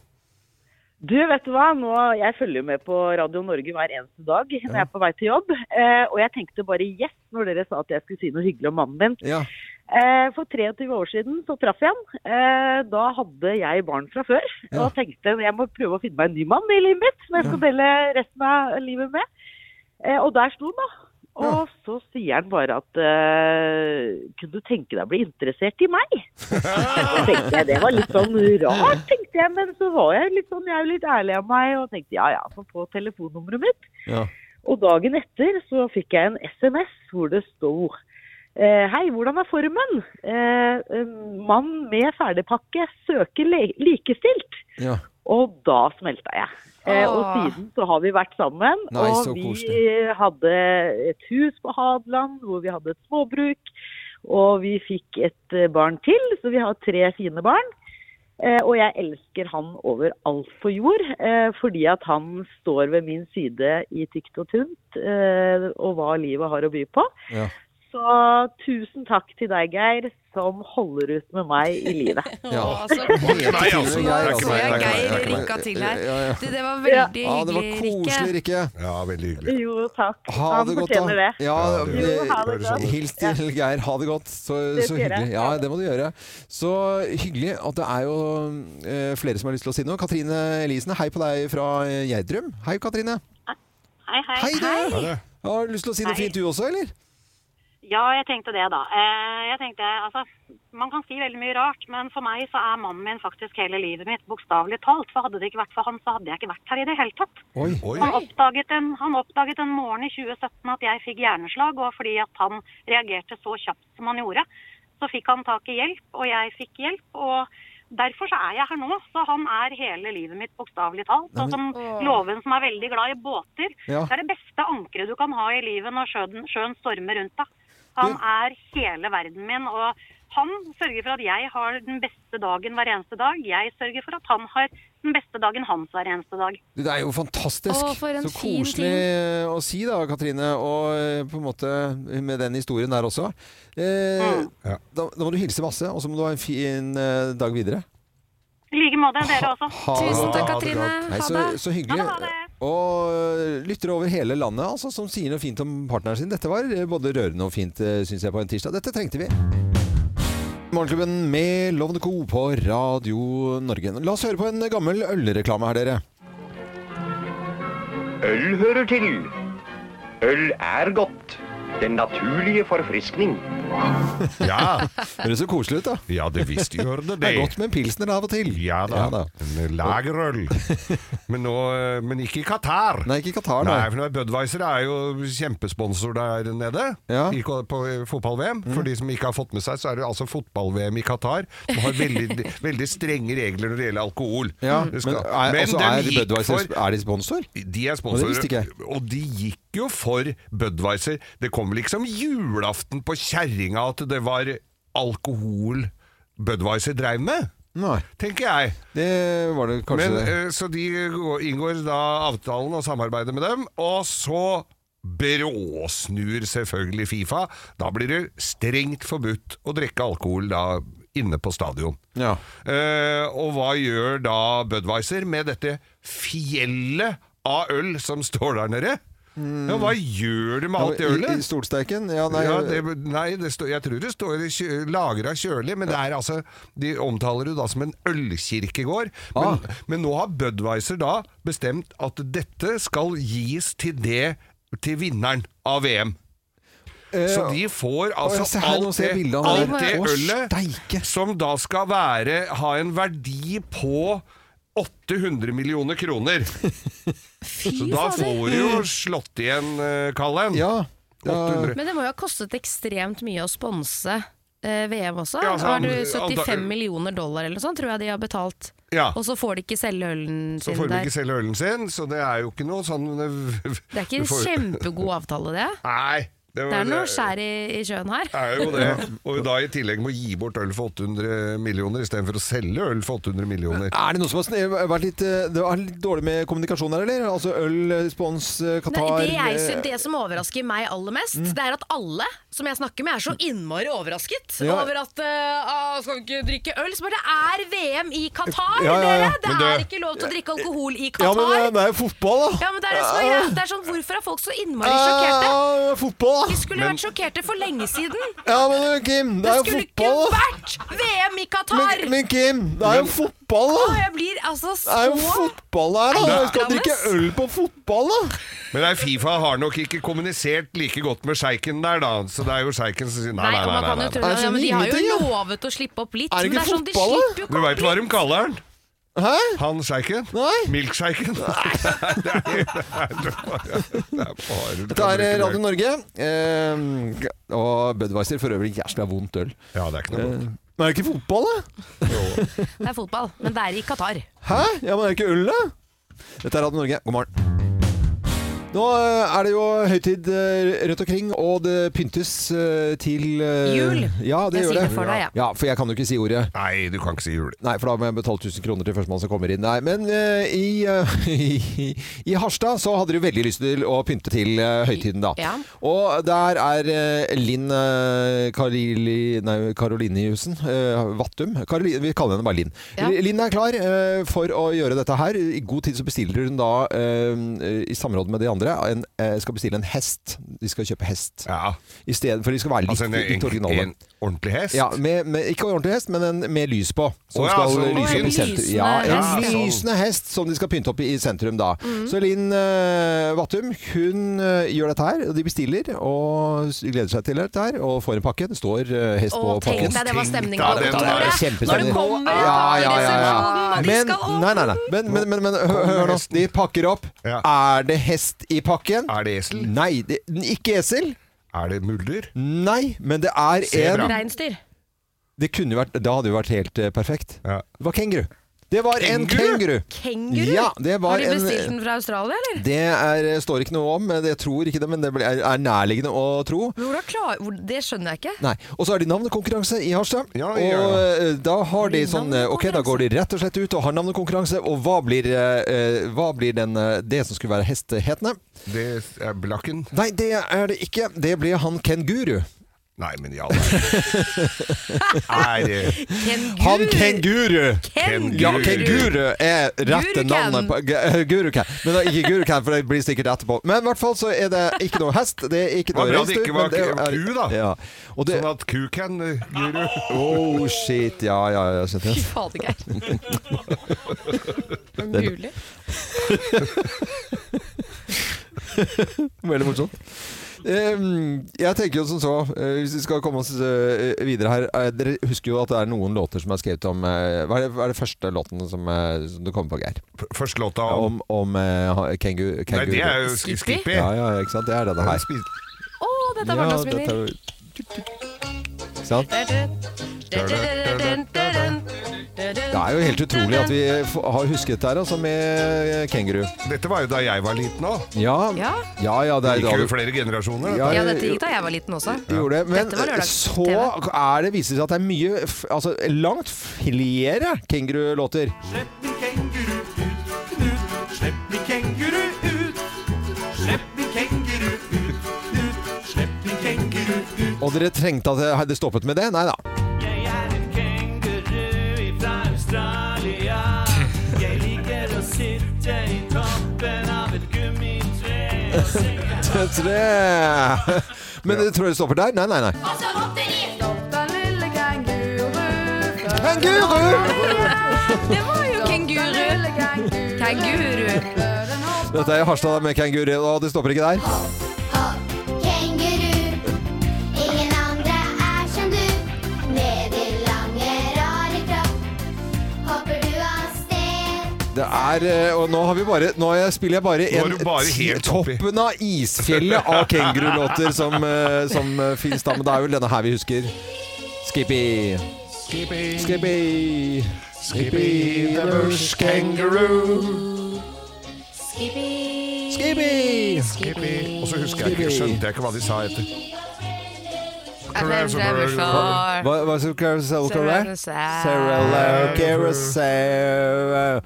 [SPEAKER 7] Du, vet du hva? Nå, jeg følger jo med på Radio Norge hver eneste dag når jeg er på vei til jobb. Eh, og jeg tenkte bare yes når dere sa at jeg skulle si noe hyggelig om mannen min.
[SPEAKER 1] Ja.
[SPEAKER 7] Eh, for 23 år siden så traff jeg han. Eh, da hadde jeg barn fra før.
[SPEAKER 1] Ja.
[SPEAKER 7] Og tenkte jeg må prøve å finne meg en ny mann i livet mitt som jeg skal dele resten av livet med. Eh, og der sto han, da. Og så sier han bare at eh, kunne du tenke deg å bli interessert i meg? Så tenkte jeg, Det var litt sånn rart, tenkte jeg. Men så var jeg litt sånn, jeg er jo litt ærlig av meg og tenkte ja ja, så på telefonnummeret mitt.
[SPEAKER 1] Ja.
[SPEAKER 7] Og dagen etter så fikk jeg en SMS hvor det sto eh, Hei, hvordan er formen? Eh, en mann med ferdigpakke søker le- likestilt.
[SPEAKER 1] Ja.
[SPEAKER 7] Og da smelta jeg. Eh, og
[SPEAKER 3] Åh.
[SPEAKER 7] siden så har vi vært sammen.
[SPEAKER 1] Nei, så
[SPEAKER 7] og vi
[SPEAKER 1] koselig.
[SPEAKER 7] hadde et hus på Hadeland hvor vi hadde et småbruk. Og vi fikk et eh, barn til, så vi har tre fine barn. Eh, og jeg elsker han over alt på jord, eh, fordi at han står ved min side i tykt og tynt, eh, og hva livet har å by på.
[SPEAKER 1] Ja.
[SPEAKER 7] Så tusen takk til deg, Geir, som holder ut med meg i livet.
[SPEAKER 1] Ja.
[SPEAKER 3] Å, så
[SPEAKER 2] Nei, altså.
[SPEAKER 3] Nå
[SPEAKER 2] Det er ikke
[SPEAKER 3] så
[SPEAKER 2] meg, det er ikke meg,
[SPEAKER 3] jeg
[SPEAKER 2] det er
[SPEAKER 3] Geir
[SPEAKER 2] ikke meg.
[SPEAKER 3] rykka til her.
[SPEAKER 1] Ja, ja.
[SPEAKER 3] Det, det var
[SPEAKER 7] Ja.
[SPEAKER 3] veldig
[SPEAKER 1] Ja, det var
[SPEAKER 3] hyggelig,
[SPEAKER 1] koselig,
[SPEAKER 3] Rikke.
[SPEAKER 1] Rikke.
[SPEAKER 2] ja, veldig hyggelig.
[SPEAKER 7] Jo, takk.
[SPEAKER 1] Ha det
[SPEAKER 7] han
[SPEAKER 1] godt,
[SPEAKER 7] fortjener
[SPEAKER 1] da.
[SPEAKER 7] det.
[SPEAKER 1] Ja,
[SPEAKER 2] Ja, det-
[SPEAKER 7] Jo, ha det
[SPEAKER 2] Høres
[SPEAKER 7] godt.
[SPEAKER 2] sånn ut.
[SPEAKER 1] Hils til Geir. Ha det godt. Så, så
[SPEAKER 7] Det skal jeg.
[SPEAKER 1] hyggelig. Ja, det må du gjøre. Så hyggelig at det er jo eh, flere som har lyst til å si noe. Katrine Elisen, hei på deg fra eh, Gjerdrum. Hei, Katrine.
[SPEAKER 8] Hei, hei.
[SPEAKER 1] Hei, du!
[SPEAKER 2] Ja, det.
[SPEAKER 1] Har du lyst til å si noe
[SPEAKER 8] Hei.
[SPEAKER 1] fint du også, eller?
[SPEAKER 8] Ja, jeg tenkte det, da. Eh, Jeg tenkte, altså, Man kan si veldig mye rart, men for meg så er mannen min faktisk hele livet mitt, bokstavelig talt. For hadde det ikke vært for han, så hadde jeg ikke vært her i det hele tatt.
[SPEAKER 2] Oi.
[SPEAKER 8] Han, oppdaget en, han oppdaget en morgen i 2017 at jeg fikk hjerneslag, og fordi at han reagerte så kjapt som han gjorde, så fikk han tak i hjelp, og jeg fikk hjelp. og Derfor så er jeg her nå, så han er hele livet mitt, bokstavelig talt.
[SPEAKER 1] Nei,
[SPEAKER 8] Og som
[SPEAKER 1] men-
[SPEAKER 8] Loven, som er veldig glad i båter,
[SPEAKER 1] Ja.
[SPEAKER 8] det er det beste ankeret du kan ha i livet når sjøen, sjøen stormer rundt deg. Han er hele verden min, og han sørger for at jeg har den beste dagen hver eneste dag. Jeg sørger for at han har den beste dagen hans hver eneste dag.
[SPEAKER 1] Det er jo fantastisk.
[SPEAKER 8] Å, for en
[SPEAKER 1] så
[SPEAKER 8] fin
[SPEAKER 1] koselig eh, å si da, Katrine. Og eh, på en måte med den historien der også. Eh,
[SPEAKER 8] Mm.
[SPEAKER 1] da, da må du hilse masse, og så må du ha en fin eh, dag videre.
[SPEAKER 8] I like måte, dere også.
[SPEAKER 1] Ha det bra. Ha det bra. Nei, så, så hyggelig. Og lytter over hele landet altså, som sier noe fint om partneren sin. Dette var eh, både rørende og fint, eh, syns jeg, på en tirsdag. Dette trengte vi. Morgenklubben med Lovende Co på Radio Norge. La oss høre på en gammel ølreklame her, dere.
[SPEAKER 9] Øl hører til. Øl er godt. Den naturlige forfriskning.
[SPEAKER 2] Ja.
[SPEAKER 1] Høres så koselig ut, da.
[SPEAKER 2] Ja, det visst gjør det det.
[SPEAKER 1] Det er godt med en pilsner av og til.
[SPEAKER 2] Ja da. En Lagerøl. Men, nå, eh, men ikke i Qatar.
[SPEAKER 1] Nei, ikke i Qatar,
[SPEAKER 2] nei.
[SPEAKER 1] nei.
[SPEAKER 2] for nå er Budwiser er jo kjempesponsor der nede i, ko- på eh, fotball-VM.
[SPEAKER 1] Mm.
[SPEAKER 2] For de som ikke har fått med seg, så er det altså fotball-VM i Qatar. De har veldig, veldig strenge regler når det gjelder alkohol.
[SPEAKER 1] Ja,
[SPEAKER 2] Det
[SPEAKER 1] men
[SPEAKER 2] skal-
[SPEAKER 1] er,
[SPEAKER 2] Men
[SPEAKER 1] altså,
[SPEAKER 2] de
[SPEAKER 1] er,
[SPEAKER 2] gikk
[SPEAKER 1] Budweiser,
[SPEAKER 2] for-
[SPEAKER 1] er de sponsor?
[SPEAKER 2] De er
[SPEAKER 1] Og det visste ikke
[SPEAKER 2] sponsorer,
[SPEAKER 1] jeg.
[SPEAKER 2] og de gikk jo for Budwiser. Det kom vel ikke som julaften på kjerringa at det var alkohol Budwiser dreiv med? Tenker jeg.
[SPEAKER 1] Det var det kanskje
[SPEAKER 2] Men, eh, så de går- inngår da avtalen og samarbeider med dem, og så bråsnur selvfølgelig Fifa. Da blir det strengt forbudt å drikke alkohol da inne på stadion.
[SPEAKER 1] Ja.
[SPEAKER 2] Eh, og hva gjør da Budwiser med dette fjellet av øl som står der nede? Ja, hva gjør de med alt det
[SPEAKER 1] Ja, i- I
[SPEAKER 2] ølet?
[SPEAKER 1] Stolsteiken? Ja, nei, eh,
[SPEAKER 2] Ja, det, nei det står- jeg tror det står i lagra kjølig, men det er altså De omtaler det da som en ølkirkegård. Men,
[SPEAKER 1] Ah.
[SPEAKER 2] men nå har Budwiser da bestemt at dette skal gis til det Til vinneren av VM. Så de får
[SPEAKER 1] Eh, Å, ja,
[SPEAKER 2] altså
[SPEAKER 1] se her, nå
[SPEAKER 2] alt
[SPEAKER 1] ser jeg
[SPEAKER 2] det,
[SPEAKER 1] bildet av det.
[SPEAKER 2] alt det
[SPEAKER 1] Å,
[SPEAKER 2] ølet som da skal være, ha en verdi på 800 millioner kroner. Så da
[SPEAKER 3] fader.
[SPEAKER 2] får du jo slått igjen, eh, Kallen.
[SPEAKER 1] Ja.
[SPEAKER 3] Men det må jo ha kostet ekstremt mye å sponse eh, VM også.
[SPEAKER 2] Ja, altså,
[SPEAKER 3] Nå er det
[SPEAKER 2] anta-
[SPEAKER 3] 75 millioner dollar eller noe sånt, tror jeg de har betalt.
[SPEAKER 2] Ja.
[SPEAKER 3] Og så får de ikke selge ølen
[SPEAKER 2] Så
[SPEAKER 3] sin
[SPEAKER 2] får de
[SPEAKER 3] der.
[SPEAKER 2] ikke selge ølen sin, så det er jo ikke noe sånn
[SPEAKER 3] Det er ikke en kjempegod avtale, det.
[SPEAKER 2] Nei.
[SPEAKER 3] Det
[SPEAKER 2] var-
[SPEAKER 3] er noe skjær i, i sjøen her.
[SPEAKER 2] Det er jo det. Og da i tillegg må gi bort øl for 800 millioner istedenfor å selge øl for 800 millioner.
[SPEAKER 1] Er det noe som har sne- vært litt, eh, det var litt dårlig med kommunikasjon her, eller? Altså øl, eh, spons, eh,
[SPEAKER 3] Nei,
[SPEAKER 1] Qatar
[SPEAKER 3] det, jeg, sy-
[SPEAKER 1] eh, Mm.
[SPEAKER 3] det som overrasker meg aller mest, det er at alle som jeg snakker med, er så innmari overrasket
[SPEAKER 1] Ja.
[SPEAKER 3] over at eh, ah, Skal vi ikke drikke øl? Så bare det er VM i Qatar,
[SPEAKER 1] Ja, ja, ja.
[SPEAKER 3] dere! Det
[SPEAKER 1] Men det-
[SPEAKER 3] er ikke lov til å drikke alkohol i
[SPEAKER 1] Ja,
[SPEAKER 3] Qatar.
[SPEAKER 1] men eh, det er jo fotball, da!
[SPEAKER 3] Ja, men det er det som er greia. Det er sånn, hvorfor er folk så innmari sjokkerte?
[SPEAKER 1] Eh, fotball, da!
[SPEAKER 3] De skulle vært sjokkerte for lenge siden.
[SPEAKER 1] Ja, men eh, Kim, det
[SPEAKER 3] Det
[SPEAKER 1] er jo
[SPEAKER 3] skulle ikke
[SPEAKER 1] fotball! da.
[SPEAKER 3] vært VM i Qatar!
[SPEAKER 1] Men, men Kim, det er jo fotball,
[SPEAKER 3] Å,
[SPEAKER 1] da!
[SPEAKER 3] jeg blir altså
[SPEAKER 1] Det er jo
[SPEAKER 3] så
[SPEAKER 1] fotball her, da!
[SPEAKER 2] Det-
[SPEAKER 1] Du skal drikke øl på fotball, da!
[SPEAKER 2] Men nei, Fifa har nok ikke kommunisert like godt med sjeiken der, da. Så det er jo sjeiken som sier nei,
[SPEAKER 3] Nei,
[SPEAKER 2] nei,
[SPEAKER 3] og man
[SPEAKER 2] nei.
[SPEAKER 3] kan
[SPEAKER 2] nei,
[SPEAKER 3] jo tro
[SPEAKER 2] nei.
[SPEAKER 3] det. Ja, men de har jo
[SPEAKER 1] ingenting,
[SPEAKER 3] lovet å slippe opp litt.
[SPEAKER 1] Er det
[SPEAKER 3] men
[SPEAKER 1] ikke
[SPEAKER 3] sånn, de
[SPEAKER 1] fotball, da?
[SPEAKER 3] slipper jo
[SPEAKER 2] Du veit hva de kaller den?
[SPEAKER 1] Hæ?
[SPEAKER 2] Han sjeiken? Milkshaken? Nei, det er det er bare- det er bare du
[SPEAKER 1] Dette
[SPEAKER 2] kan
[SPEAKER 1] er eh,
[SPEAKER 2] drikke
[SPEAKER 1] Radio Norge, eh, og Budwiser for øvrig jæskla vondt øl.
[SPEAKER 2] Ja, det er ikke noe
[SPEAKER 1] vondt. Men er det ikke fotball, da?
[SPEAKER 3] Det er fotball, men det er i Qatar.
[SPEAKER 1] Hæ? Ja, men er det ikke øl, da? Dette er Radio Norge, god morgen. Nå eh, er det jo høytid eh, rundt omkring, og det pyntes eh, til eh,
[SPEAKER 3] Jul.
[SPEAKER 1] Ja, det
[SPEAKER 3] Jeg sier
[SPEAKER 1] gjør det.
[SPEAKER 3] det for deg, jeg.
[SPEAKER 1] ja, for jeg kan jo ikke si ordet.
[SPEAKER 2] Nei, du kan ikke si jul.
[SPEAKER 1] Nei, for da må jeg betale 1000 kroner til førstemann som kommer inn. Nei, men eh, i, eh, i, i Harstad så hadde du veldig lyst til å pynte til eh, høytiden, da.
[SPEAKER 3] Ja.
[SPEAKER 1] Og der er eh, Linn eh, Karili, nei, Karoliniussen eh, Vattum. Karoli, vi kaller henne bare Linn.
[SPEAKER 3] Ja.
[SPEAKER 1] Linn er klar eh, for å gjøre dette her. I god tid så bestiller hun da, eh, i samråd med de andre andre en, eh, skal bestille en hest. De skal kjøpe hest. I stedet for de skal være litt,
[SPEAKER 2] Altså en-
[SPEAKER 1] litt originale.
[SPEAKER 2] en ordentlig hest?
[SPEAKER 1] Ja, med, med, ikke ordentlig hest, men en med lys på. Som
[SPEAKER 2] Å ja,
[SPEAKER 1] skal lyse
[SPEAKER 2] sånn
[SPEAKER 1] opp i
[SPEAKER 2] lysende
[SPEAKER 1] sentrum. Ja, en
[SPEAKER 2] hest.
[SPEAKER 1] lysende hest som de skal pynte opp i, i sentrum da.
[SPEAKER 2] Mhm.
[SPEAKER 1] Så Linn eh, Vattum hun eh, gjør dette her, og de bestiller og s- gleder seg til dette her, og får en pakke. Det står eh, hest på
[SPEAKER 3] Å, tenk
[SPEAKER 1] pakken.
[SPEAKER 3] deg, det var stemning
[SPEAKER 1] Ja, det
[SPEAKER 3] på det
[SPEAKER 1] var
[SPEAKER 3] kontoret.
[SPEAKER 1] kjempestemning.
[SPEAKER 3] Når det kommer
[SPEAKER 1] ja, ja, ja,
[SPEAKER 3] resepsjonen,
[SPEAKER 1] ja.
[SPEAKER 3] og de
[SPEAKER 1] Men,
[SPEAKER 3] skal åpne.
[SPEAKER 1] nei, nei, nei. Men, men, men, men hør,
[SPEAKER 2] Kommer
[SPEAKER 1] hør nå.
[SPEAKER 2] hesten.
[SPEAKER 1] De pakker opp. Er det hest i pakken? Er det esel? Nei, det, ikke esel.
[SPEAKER 2] Er det muldyr?
[SPEAKER 1] Nei, men det er en
[SPEAKER 3] Reinsdyr.
[SPEAKER 1] det kunne jo vært, da hadde det jo vært helt eh, perfekt. Det var kenguru. Det var en kenguru!
[SPEAKER 3] Kenguru?
[SPEAKER 1] Ja, det var
[SPEAKER 3] Har de
[SPEAKER 1] en- eh,
[SPEAKER 3] bestilt den fra Australia, eller?
[SPEAKER 1] Det er, eh, står ikke noe om, men jeg tror ikke det, men det ble- er er nærliggende å tro.
[SPEAKER 3] Men hvordan klar, hvor, det skjønner jeg ikke.
[SPEAKER 1] Nei. Og så er det navnekonkurranse i Harstad. og
[SPEAKER 2] ja,
[SPEAKER 1] eh, da har de sånn eh, Ok, da går de rett og slett ut og har navnekonkurranse. Og hva blir, eh, eh, hva blir den, eh, det som skulle være hestehetende?
[SPEAKER 2] Det er blakken.
[SPEAKER 1] Nei, det er det ikke. Det blir han kenguru.
[SPEAKER 2] Nei, men ja Er det
[SPEAKER 3] Kenguru.
[SPEAKER 1] Han kenguru!
[SPEAKER 2] Kenguru.
[SPEAKER 1] Ja, kenguru er rette
[SPEAKER 2] Guruken.
[SPEAKER 1] navnet på g- eh, Guruken. Men da, ikke guruken, for det blir sikkert etterpå. Men i hvert fall så er det ikke noe hest. Det er ikke
[SPEAKER 2] Det var
[SPEAKER 1] noe
[SPEAKER 2] bra det
[SPEAKER 1] reinsdyr,
[SPEAKER 2] ikke
[SPEAKER 1] men
[SPEAKER 2] var
[SPEAKER 1] det er-
[SPEAKER 2] ku, da.
[SPEAKER 1] Ja. Og det,
[SPEAKER 2] Sånn at kuken guru
[SPEAKER 1] Oh shit, ja, ja, ja. skjønte jeg.
[SPEAKER 2] Fy fader, Geir.
[SPEAKER 1] Det er-
[SPEAKER 2] Mulig.
[SPEAKER 1] Veldig
[SPEAKER 2] sånn.
[SPEAKER 1] morsomt. Ehm, Jeg tenker jo som så, eh, hvis vi skal komme oss eh, videre her eh, Dere husker jo at det er noen låter som er skrevet om eh, Hva er det, hva er det første låten som, eh, som du kommer på, Geir?
[SPEAKER 2] Første låta
[SPEAKER 1] om Om, om eh, ha- kengu, kenguru.
[SPEAKER 2] det er jo Skippy. Skippy.
[SPEAKER 1] Ja, ja, ikke sant. Det er denne her.
[SPEAKER 3] Å, dette er
[SPEAKER 1] Ja,
[SPEAKER 3] barndomsminner.
[SPEAKER 1] dette er- Ikke sant? Det er jo helt utrolig at vi eh, f- har husket det her, altså, med kenguru.
[SPEAKER 2] Dette var jo da jeg var liten òg.
[SPEAKER 1] Ja.
[SPEAKER 3] Ja.
[SPEAKER 1] Ja, ja, det er
[SPEAKER 2] gikk jo
[SPEAKER 1] da
[SPEAKER 2] i flere generasjoner.
[SPEAKER 1] Ja,
[SPEAKER 3] Ja, dette gikk da jeg var liten også.
[SPEAKER 1] Vi gjorde det. Men
[SPEAKER 3] Dette var lørdags
[SPEAKER 1] så
[SPEAKER 3] TV.
[SPEAKER 1] er det, viser det seg at det er mye f- altså, Langt flere kengurulåter.
[SPEAKER 4] Slipp min kenguru ut, Knut. Slipp min kenguru ut. Slipp min kenguru ut, Knut. Slipp min kenguru ut.
[SPEAKER 1] Og dere trengte at det hadde stoppet med det? Nei da.
[SPEAKER 4] Jeg er en kenguru ifra Australia. Jeg liker å sitte i toppen av et gummitre.
[SPEAKER 1] Tre. Men dere tror det stopper der? Nei, nei, nei.
[SPEAKER 3] Det var jo kenguru. Kenguru.
[SPEAKER 1] Dette er Harstad med kenguru, og det stopper ikke der.
[SPEAKER 10] Kenguru, ingen andre er som du. Med din lange, rare kropp hopper du av sted.
[SPEAKER 1] Det er, eh, og nå, har vi bare, nå har jeg- spiller jeg bare
[SPEAKER 2] Nå er
[SPEAKER 1] en
[SPEAKER 2] du bare
[SPEAKER 1] ti-
[SPEAKER 2] helt oppi.
[SPEAKER 1] toppen av isfjellet av kengurulåter som, eh, som eh, finnes da. Men det er vel denne her vi husker. Skippy.
[SPEAKER 2] Skippy.
[SPEAKER 1] Skippy.
[SPEAKER 2] Skippy the bush kangaroo.
[SPEAKER 4] Skippy.
[SPEAKER 1] Skippy.
[SPEAKER 2] Skippy. Og så husker jeg ikke, skjønte jeg ikke hva de sa etter.
[SPEAKER 1] Hva, hva så carousel, carousel?
[SPEAKER 2] Carousel.
[SPEAKER 1] Carousel, carousel.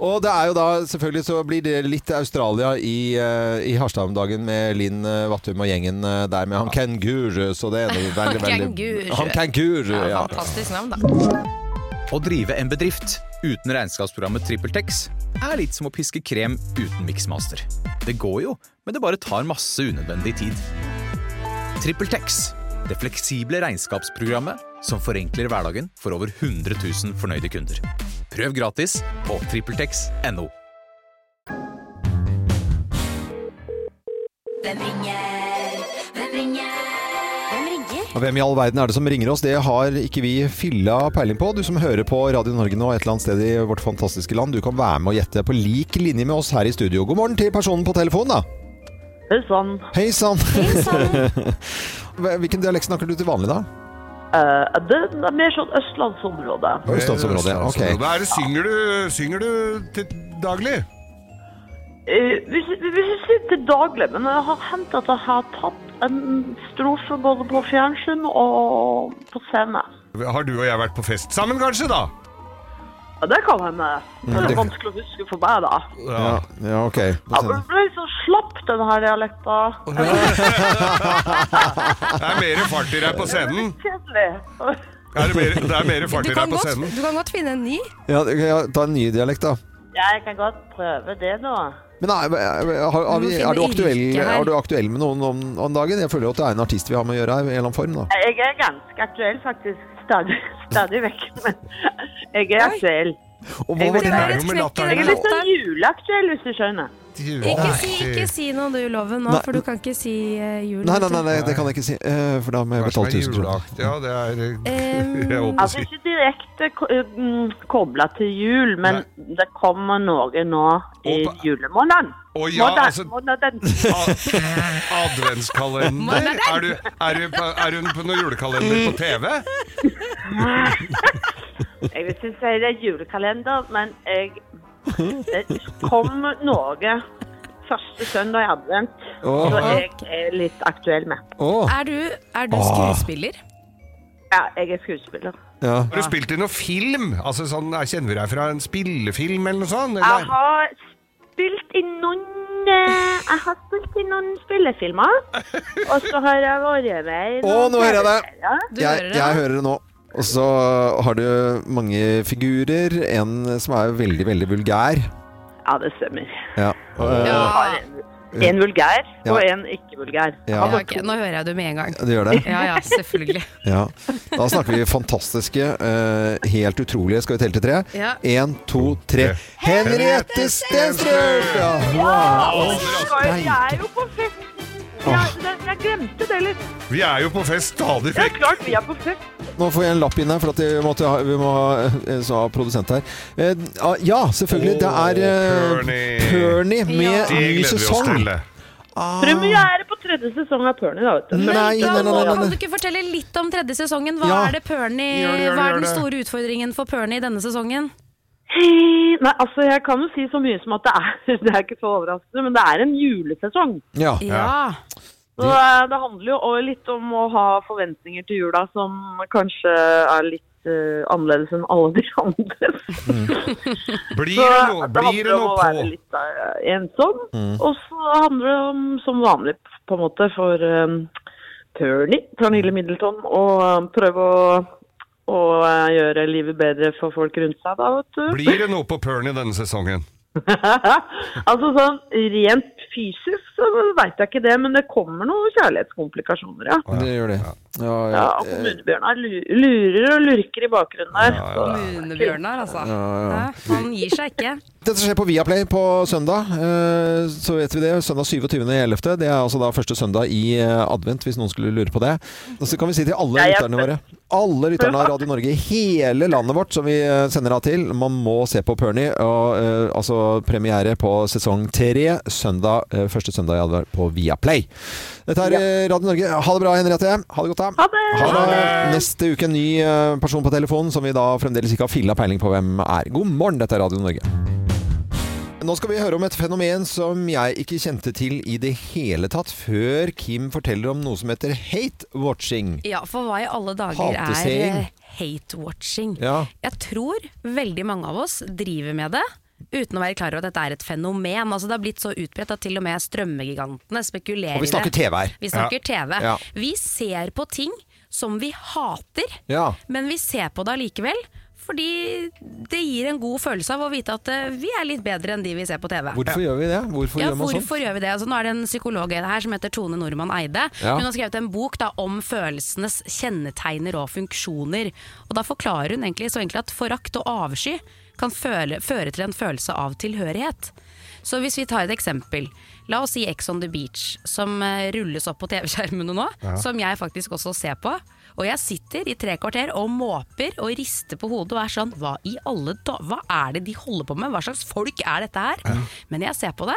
[SPEAKER 1] Og det er jo da, selvfølgelig så blir det litt Australia i, eh, i Harstad om dagen med Linn eh, Vattum og gjengen eh, der med han kenguru, så det er noe veldig, veldig
[SPEAKER 3] Kenguru.
[SPEAKER 1] Han kenguru, ja.
[SPEAKER 3] Fantastisk navn, da.
[SPEAKER 11] Å drive en bedrift uten regnskapsprogrammet TrippelTex er litt som å piske krem uten miksmaster. Det går jo, men det bare tar masse unødvendig tid. TrippelTex, det fleksible regnskapsprogrammet som forenkler hverdagen for over 100 000 fornøyde kunder. Prøv gratis på TrippelTex.no.
[SPEAKER 4] Hvem ringer? Hvem ringer? Hvem ringer?
[SPEAKER 1] Og hvem i all verden er det som ringer oss? Det har ikke vi fylla peiling på. Du som hører på Radio Norge nå et eller annet sted i vårt fantastiske land, du kan være med og gjette på lik linje med oss her i studio. God morgen til personen på telefonen, da.
[SPEAKER 7] Hei sann.
[SPEAKER 1] Hei sann. Hva- Hvilken dialekt snakker du til vanlig, da?
[SPEAKER 7] Eh, det er mer sånn østlandsområde.
[SPEAKER 1] Østlandsområdet, ok.
[SPEAKER 2] Hva er det, synger, du, synger du til daglig?
[SPEAKER 7] Eh, hvis hvis jeg sier til daglig, men jeg har hendt at jeg har tatt en strofe både på fjernsyn og på scene.
[SPEAKER 2] Har du og jeg vært på fest sammen, kanskje, da?
[SPEAKER 7] Ja, det kan hende. Det
[SPEAKER 2] Mm.
[SPEAKER 7] er vanskelig å huske for meg, da.
[SPEAKER 1] Ja, ja ok.
[SPEAKER 7] Ja, men det ble liksom slapp, den her dialekta.
[SPEAKER 2] Det er mer fart i deg på scenen.
[SPEAKER 7] Kjedelig.
[SPEAKER 2] Er det, mer, det er mer fart
[SPEAKER 3] Du
[SPEAKER 2] i
[SPEAKER 3] kan,
[SPEAKER 2] deg på
[SPEAKER 3] godt,
[SPEAKER 2] scenen.
[SPEAKER 3] du kan godt finne en ny.
[SPEAKER 1] Ja, ja, ta en ny dialekt, da.
[SPEAKER 7] Jeg kan godt prøve det nå.
[SPEAKER 1] Men er, er, har, har vi,
[SPEAKER 12] Vi må
[SPEAKER 1] er, du
[SPEAKER 12] finne
[SPEAKER 1] aktuell,
[SPEAKER 12] yrke her.
[SPEAKER 1] er du aktuell med noen om, om dagen? Jeg føler jo at det er en artist vi har med å gjøre her, i en eller annen form. da.
[SPEAKER 7] Jeg er ganske aktuell, faktisk. Stadig, stadig vekk. Men jeg er aktuell.
[SPEAKER 1] Og
[SPEAKER 7] jeg,
[SPEAKER 1] var
[SPEAKER 7] vil-
[SPEAKER 1] det der med latteren?
[SPEAKER 7] jeg er litt sånn juleaktuell, hvis du skjønner.
[SPEAKER 3] Ikke si, ikke si noe du, Loven, nå,
[SPEAKER 1] Nei.
[SPEAKER 3] for du kan ikke si eh, jul.
[SPEAKER 1] Nei, nei,
[SPEAKER 3] vet du.
[SPEAKER 1] nei, nei, det kan jeg ikke si. eh, For da må jeg betale 1000 kroner.
[SPEAKER 2] Ja, det er Jeg holdt på å
[SPEAKER 7] Altså
[SPEAKER 2] si.
[SPEAKER 7] ikke direkte ko- mm, kobla til jul, men det kommer noe nå i julemåneden.
[SPEAKER 2] Å ja,
[SPEAKER 7] Måneden,
[SPEAKER 2] altså-
[SPEAKER 7] måneden.
[SPEAKER 2] Adventskalender. Er du, er, du, på- er hun på noen julekalender på TV?
[SPEAKER 7] Jeg vil ikke si det er julekalender, men jeg, det kommer noe første søndag i advent
[SPEAKER 3] Åh.
[SPEAKER 7] som jeg er litt aktuell med.
[SPEAKER 3] Er du, er du
[SPEAKER 2] Åh.
[SPEAKER 3] skuespiller?
[SPEAKER 7] Ja, jeg er skuespiller.
[SPEAKER 2] Har du spilt i noen film? Altså sånn, er- Kjenner vi deg fra en spillefilm eller noe sånt?
[SPEAKER 7] Jeg
[SPEAKER 2] Eller?
[SPEAKER 7] har spilt i noen eh, Jeg har spilt i noen spillefilmer. Og så har jeg vært med i
[SPEAKER 1] Å, nå hører jeg det.
[SPEAKER 7] TV-serier.
[SPEAKER 1] Jeg, jeg hører det nå. Og så har du mange figurer. En som er veldig, veldig vulgær.
[SPEAKER 7] Ja, det stemmer.
[SPEAKER 1] Ja. eh,
[SPEAKER 7] Jeg har en- En vulgær
[SPEAKER 1] Ja.
[SPEAKER 7] og en ikke-vulgær.
[SPEAKER 1] Ja.
[SPEAKER 3] Ja, ok, nå hører jeg det med en gang.
[SPEAKER 1] Du gjør det?
[SPEAKER 3] Ja, ja, selvfølgelig.
[SPEAKER 1] Ja. Da snakker vi fantastiske, eh, helt utrolige. Skal vi telle til tre?
[SPEAKER 3] Ja.
[SPEAKER 1] Én, to, tre. Henriette Stenstrøm! Ja. Wow.
[SPEAKER 7] Jeg er jo på fest. Jeg, jeg, jeg glemte det litt.
[SPEAKER 2] Vi er jo på fest stadig
[SPEAKER 7] Det er
[SPEAKER 2] vekk.
[SPEAKER 7] klart vi er på fest.
[SPEAKER 1] Nå får jeg en lapp inn her, for at vi, måtte ha, vi må ha eh, så ha produsent her. Eh, ah, ja, selvfølgelig. Det er eh, Perny med
[SPEAKER 2] Det
[SPEAKER 1] ny
[SPEAKER 2] gleder vi oss
[SPEAKER 1] sesong.
[SPEAKER 2] til.
[SPEAKER 7] Premiere på tredje sesong av Perny, da. vet du.
[SPEAKER 1] Nei, nei, nei, nei, nei.
[SPEAKER 3] Kan du ikke fortelle litt om tredje sesongen? Hva
[SPEAKER 7] Ja.
[SPEAKER 3] er det Perny,
[SPEAKER 7] Gjør det, gjør
[SPEAKER 3] hva
[SPEAKER 7] det,
[SPEAKER 3] er
[SPEAKER 7] gjør
[SPEAKER 3] den
[SPEAKER 7] det.
[SPEAKER 3] store utfordringen for Perny denne sesongen?
[SPEAKER 7] Hei, Nei, altså Jeg kan jo si så mye som at det er Det er ikke så overraskende, men det er en julesesong.
[SPEAKER 1] Ja.
[SPEAKER 3] Ja.
[SPEAKER 7] Så eh, det handler jo også litt om å ha forventninger til jula som kanskje er litt eh, annerledes enn alle de andre.
[SPEAKER 2] Blir
[SPEAKER 7] Så
[SPEAKER 2] det noe,
[SPEAKER 7] det
[SPEAKER 2] blir
[SPEAKER 7] handler
[SPEAKER 2] det
[SPEAKER 7] om å
[SPEAKER 2] noe
[SPEAKER 7] være
[SPEAKER 2] på?
[SPEAKER 7] litt eh, ensom.
[SPEAKER 2] Mm.
[SPEAKER 7] Og så handler det om, som vanlig på en måte, for um, Perny, Pernille Middleton, å eh, prøve å, å eh, gjøre livet bedre for folk rundt seg, da, vet du.
[SPEAKER 2] Blir det noe på Perny denne sesongen?
[SPEAKER 7] altså sånn rent fysisk så veit jeg ikke det, men det kommer noen kjærlighetskomplikasjoner, ja.
[SPEAKER 1] Det gjør det. Ja, ja.
[SPEAKER 7] Ja, og kommunebjørnar lu- lurer og lurker i bakgrunnen der.
[SPEAKER 3] Kommunebjørnar, altså.
[SPEAKER 1] Ja, ja.
[SPEAKER 3] Hæ? Han gir seg ikke.
[SPEAKER 1] Dette skjer på Viaplay på søndag. eh, Så vet vi det. Søndag 27.11. Det er altså da første søndag i eh, advent, hvis noen skulle lure på det. Og så kan vi si til alle
[SPEAKER 13] Jeg er
[SPEAKER 1] lytterne våre Alle lytterne av Radio Norge i hele landet vårt som vi eh, sender av til, man må se på Perny. Og, eh, altså premiere på sesong tre, søndag, eh, første søndag i advent på Viaplay. Dette er eh, Radio Norge. Ha det bra, Henriette. Ha det godt, da. Ha det. Neste uke en ny eh, person på telefonen som vi da fremdeles ikke har filla peiling på hvem er. God morgen, dette er Radio Norge. Nå skal vi høre om et fenomen som jeg ikke kjente til i det hele tatt før Kim forteller om noe som heter hate watching.
[SPEAKER 3] Ja, for hva i alle dager er
[SPEAKER 1] Hateseing.
[SPEAKER 3] eh, hate-watching?
[SPEAKER 1] Ja.
[SPEAKER 3] Jeg tror veldig mange av oss driver med det. Uten å være klar over at dette er et fenomen. Altså, det har blitt så utbredt at til og med strømmegigantene spekulerer
[SPEAKER 1] Og vi snakker
[SPEAKER 3] i det.
[SPEAKER 1] TV her.
[SPEAKER 3] Vi snakker
[SPEAKER 1] Ja.
[SPEAKER 3] TV.
[SPEAKER 1] Ja.
[SPEAKER 3] Vi ser på ting som vi hater,
[SPEAKER 1] Ja.
[SPEAKER 3] men vi ser på det allikevel. Fordi det gir en god følelse av å vite at eh, vi er litt bedre enn de vi ser på TV.
[SPEAKER 1] Hvorfor gjør vi det? Hvorfor
[SPEAKER 3] ja,
[SPEAKER 1] gjør man sånn?
[SPEAKER 3] hvorfor gjør vi det? Altså, nå er det en psykolog her som heter Tone Normann Eide.
[SPEAKER 1] Ja.
[SPEAKER 3] Hun har skrevet en bok da, om følelsenes kjennetegner og funksjoner. Og da forklarer hun egentlig så enkelt at forakt og avsky kan føle, føre til en følelse av tilhørighet. Så hvis vi tar et eksempel. La oss si Ex on the Beach, som eh, rulles opp på TV-skjermene nå.
[SPEAKER 14] Ja.
[SPEAKER 3] Som jeg faktisk også ser på. Og jeg sitter i tre kvarter og måper og rister på hodet og er sånn Hva i alle da... Hva er det de holder på med? Hva slags folk er dette her? Men jeg ser på det,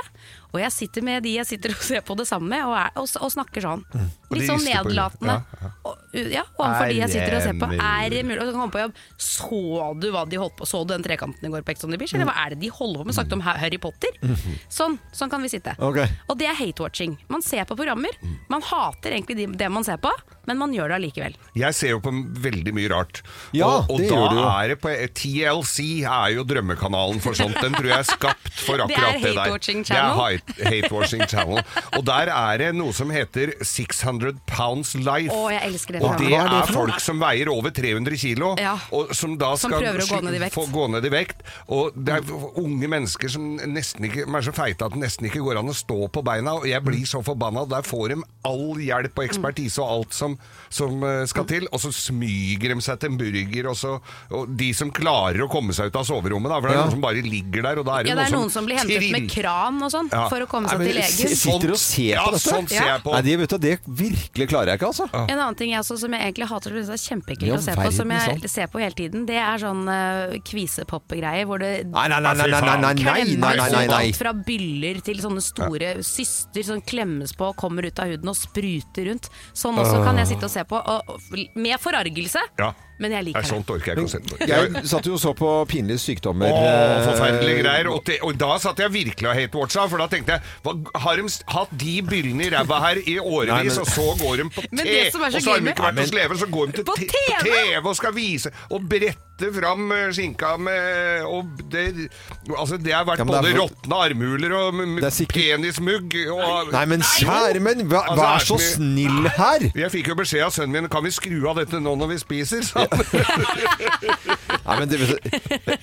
[SPEAKER 3] og jeg sitter med de jeg sitter og ser på det sammen med, og, er, og, s- og snakker sånn.
[SPEAKER 14] Mm. Og de
[SPEAKER 3] Litt sånn
[SPEAKER 14] rister på hodet.
[SPEAKER 3] nedlatende.
[SPEAKER 14] Ja,
[SPEAKER 3] Og, ja, overfor de jeg sitter og ser på.
[SPEAKER 14] Er det
[SPEAKER 3] Er det mulig? Og så kan man komme på jobb. Så du hva de holdt på Så du den trekanten i går på Ex on the Beach? Eller hva er det de holder på med? Snakket om Ha- Harry Potter?
[SPEAKER 14] Mhm.
[SPEAKER 3] Sånn, sånn kan vi sitte.
[SPEAKER 1] Ok.
[SPEAKER 3] Og det er hate-watching. Man ser på programmer, man hater egentlig de- det man ser på, men man gjør det allikevel.
[SPEAKER 2] Jeg ser jo på veldig mye rart.
[SPEAKER 1] Ja,
[SPEAKER 2] og og
[SPEAKER 1] det
[SPEAKER 2] da
[SPEAKER 1] gjør du jo.
[SPEAKER 2] er det på TLC er jo drømmekanalen for sånt. Den tror jeg er skapt for
[SPEAKER 3] Det er
[SPEAKER 2] akkurat det, der.
[SPEAKER 3] hate-watching channel.
[SPEAKER 2] Det er hate-watching channel. Og der er det noe som heter 600 Pounds Life.
[SPEAKER 3] Å, jeg elsker det
[SPEAKER 2] Og
[SPEAKER 3] programmet.
[SPEAKER 2] det
[SPEAKER 3] Hva er det
[SPEAKER 2] er
[SPEAKER 3] for noe?
[SPEAKER 2] folk som veier over 300 kilo,
[SPEAKER 3] Ja.
[SPEAKER 2] og som da
[SPEAKER 3] Som
[SPEAKER 2] skal
[SPEAKER 3] prøver å gå
[SPEAKER 2] sli-
[SPEAKER 3] ned i vekt.
[SPEAKER 2] få gå ned i vekt. Og det er unge mennesker som nesten ikke, som er så feite at det nesten ikke går an å stå på beina. Og jeg blir så forbanna. Der får de all hjelp og
[SPEAKER 3] Mm.
[SPEAKER 2] ekspertise og alt som, som eh, skal til. Og så smyger de seg til en burger, og så og De som klarer å komme seg ut av soverommet, da. For det er
[SPEAKER 1] Ja.
[SPEAKER 2] noen som bare ligger der, og da er det,
[SPEAKER 3] Ja, det er noen som blir hentet
[SPEAKER 2] trill-
[SPEAKER 3] med kran og sånn
[SPEAKER 2] Ja.
[SPEAKER 3] for å komme
[SPEAKER 2] Nei,
[SPEAKER 3] seg
[SPEAKER 2] men
[SPEAKER 3] til legen.
[SPEAKER 2] s-
[SPEAKER 1] Sitter og ser
[SPEAKER 2] Ja,
[SPEAKER 1] på dette?
[SPEAKER 2] sånn ser jeg på.
[SPEAKER 1] Nei, det, vet du, det virkelig klarer jeg ikke, altså.
[SPEAKER 3] En annen ting jeg også, som jeg egentlig hater, som er kjempeekkelt
[SPEAKER 1] Ja,
[SPEAKER 3] å se på, som
[SPEAKER 1] verden
[SPEAKER 3] jeg
[SPEAKER 1] sant.
[SPEAKER 3] ser på hele tiden, det er sånn uh, kvisepop-greier hvor det
[SPEAKER 1] Nei, nei, nei, nei, nei, nei, nei,
[SPEAKER 3] klemmes
[SPEAKER 1] nei, nei, nei,
[SPEAKER 3] opp,
[SPEAKER 1] nei.
[SPEAKER 3] alt fra byller til sånne store syster som klemmes på, kommer ut av huden og spruter rundt. Sånn også kan jeg sitte og se på, og, og, med forargelse,
[SPEAKER 2] Ja. sånn
[SPEAKER 3] men jeg
[SPEAKER 2] Nei,
[SPEAKER 3] liker det.
[SPEAKER 2] sånt orker jeg ikke å se på.
[SPEAKER 1] Jeg satt jo og så på pinlige sykdommer.
[SPEAKER 2] Åh, forferdelige
[SPEAKER 1] eh,
[SPEAKER 2] greier. Og, det- og da satt jeg virkelig og hate-watcha, for da tenkte jeg hva, Har de s- hatt de byllene i ræva her i
[SPEAKER 1] Nei, men-
[SPEAKER 2] årevis, og så går de på
[SPEAKER 3] Men
[SPEAKER 2] te,
[SPEAKER 3] det som er så
[SPEAKER 2] og så har
[SPEAKER 3] gøy
[SPEAKER 2] de ikke
[SPEAKER 3] med-
[SPEAKER 2] vært hos leve, så går de til
[SPEAKER 3] På
[SPEAKER 2] te-
[SPEAKER 3] TV?
[SPEAKER 2] TV og skal vise Og brette fram eh, skinka med Og det Altså, det har vært
[SPEAKER 1] Ja, men
[SPEAKER 2] både
[SPEAKER 1] det er for-
[SPEAKER 2] råtne armhuler og m- m- penismugg og
[SPEAKER 1] Nei, men kjære menn, vær,
[SPEAKER 2] Altså,
[SPEAKER 1] vær
[SPEAKER 2] er
[SPEAKER 1] så
[SPEAKER 2] det
[SPEAKER 1] snill her!
[SPEAKER 2] Jeg fikk jo beskjed av sønnen min Kan vi skru av dette nå når vi spiser? sa han.
[SPEAKER 1] Nei, men, det,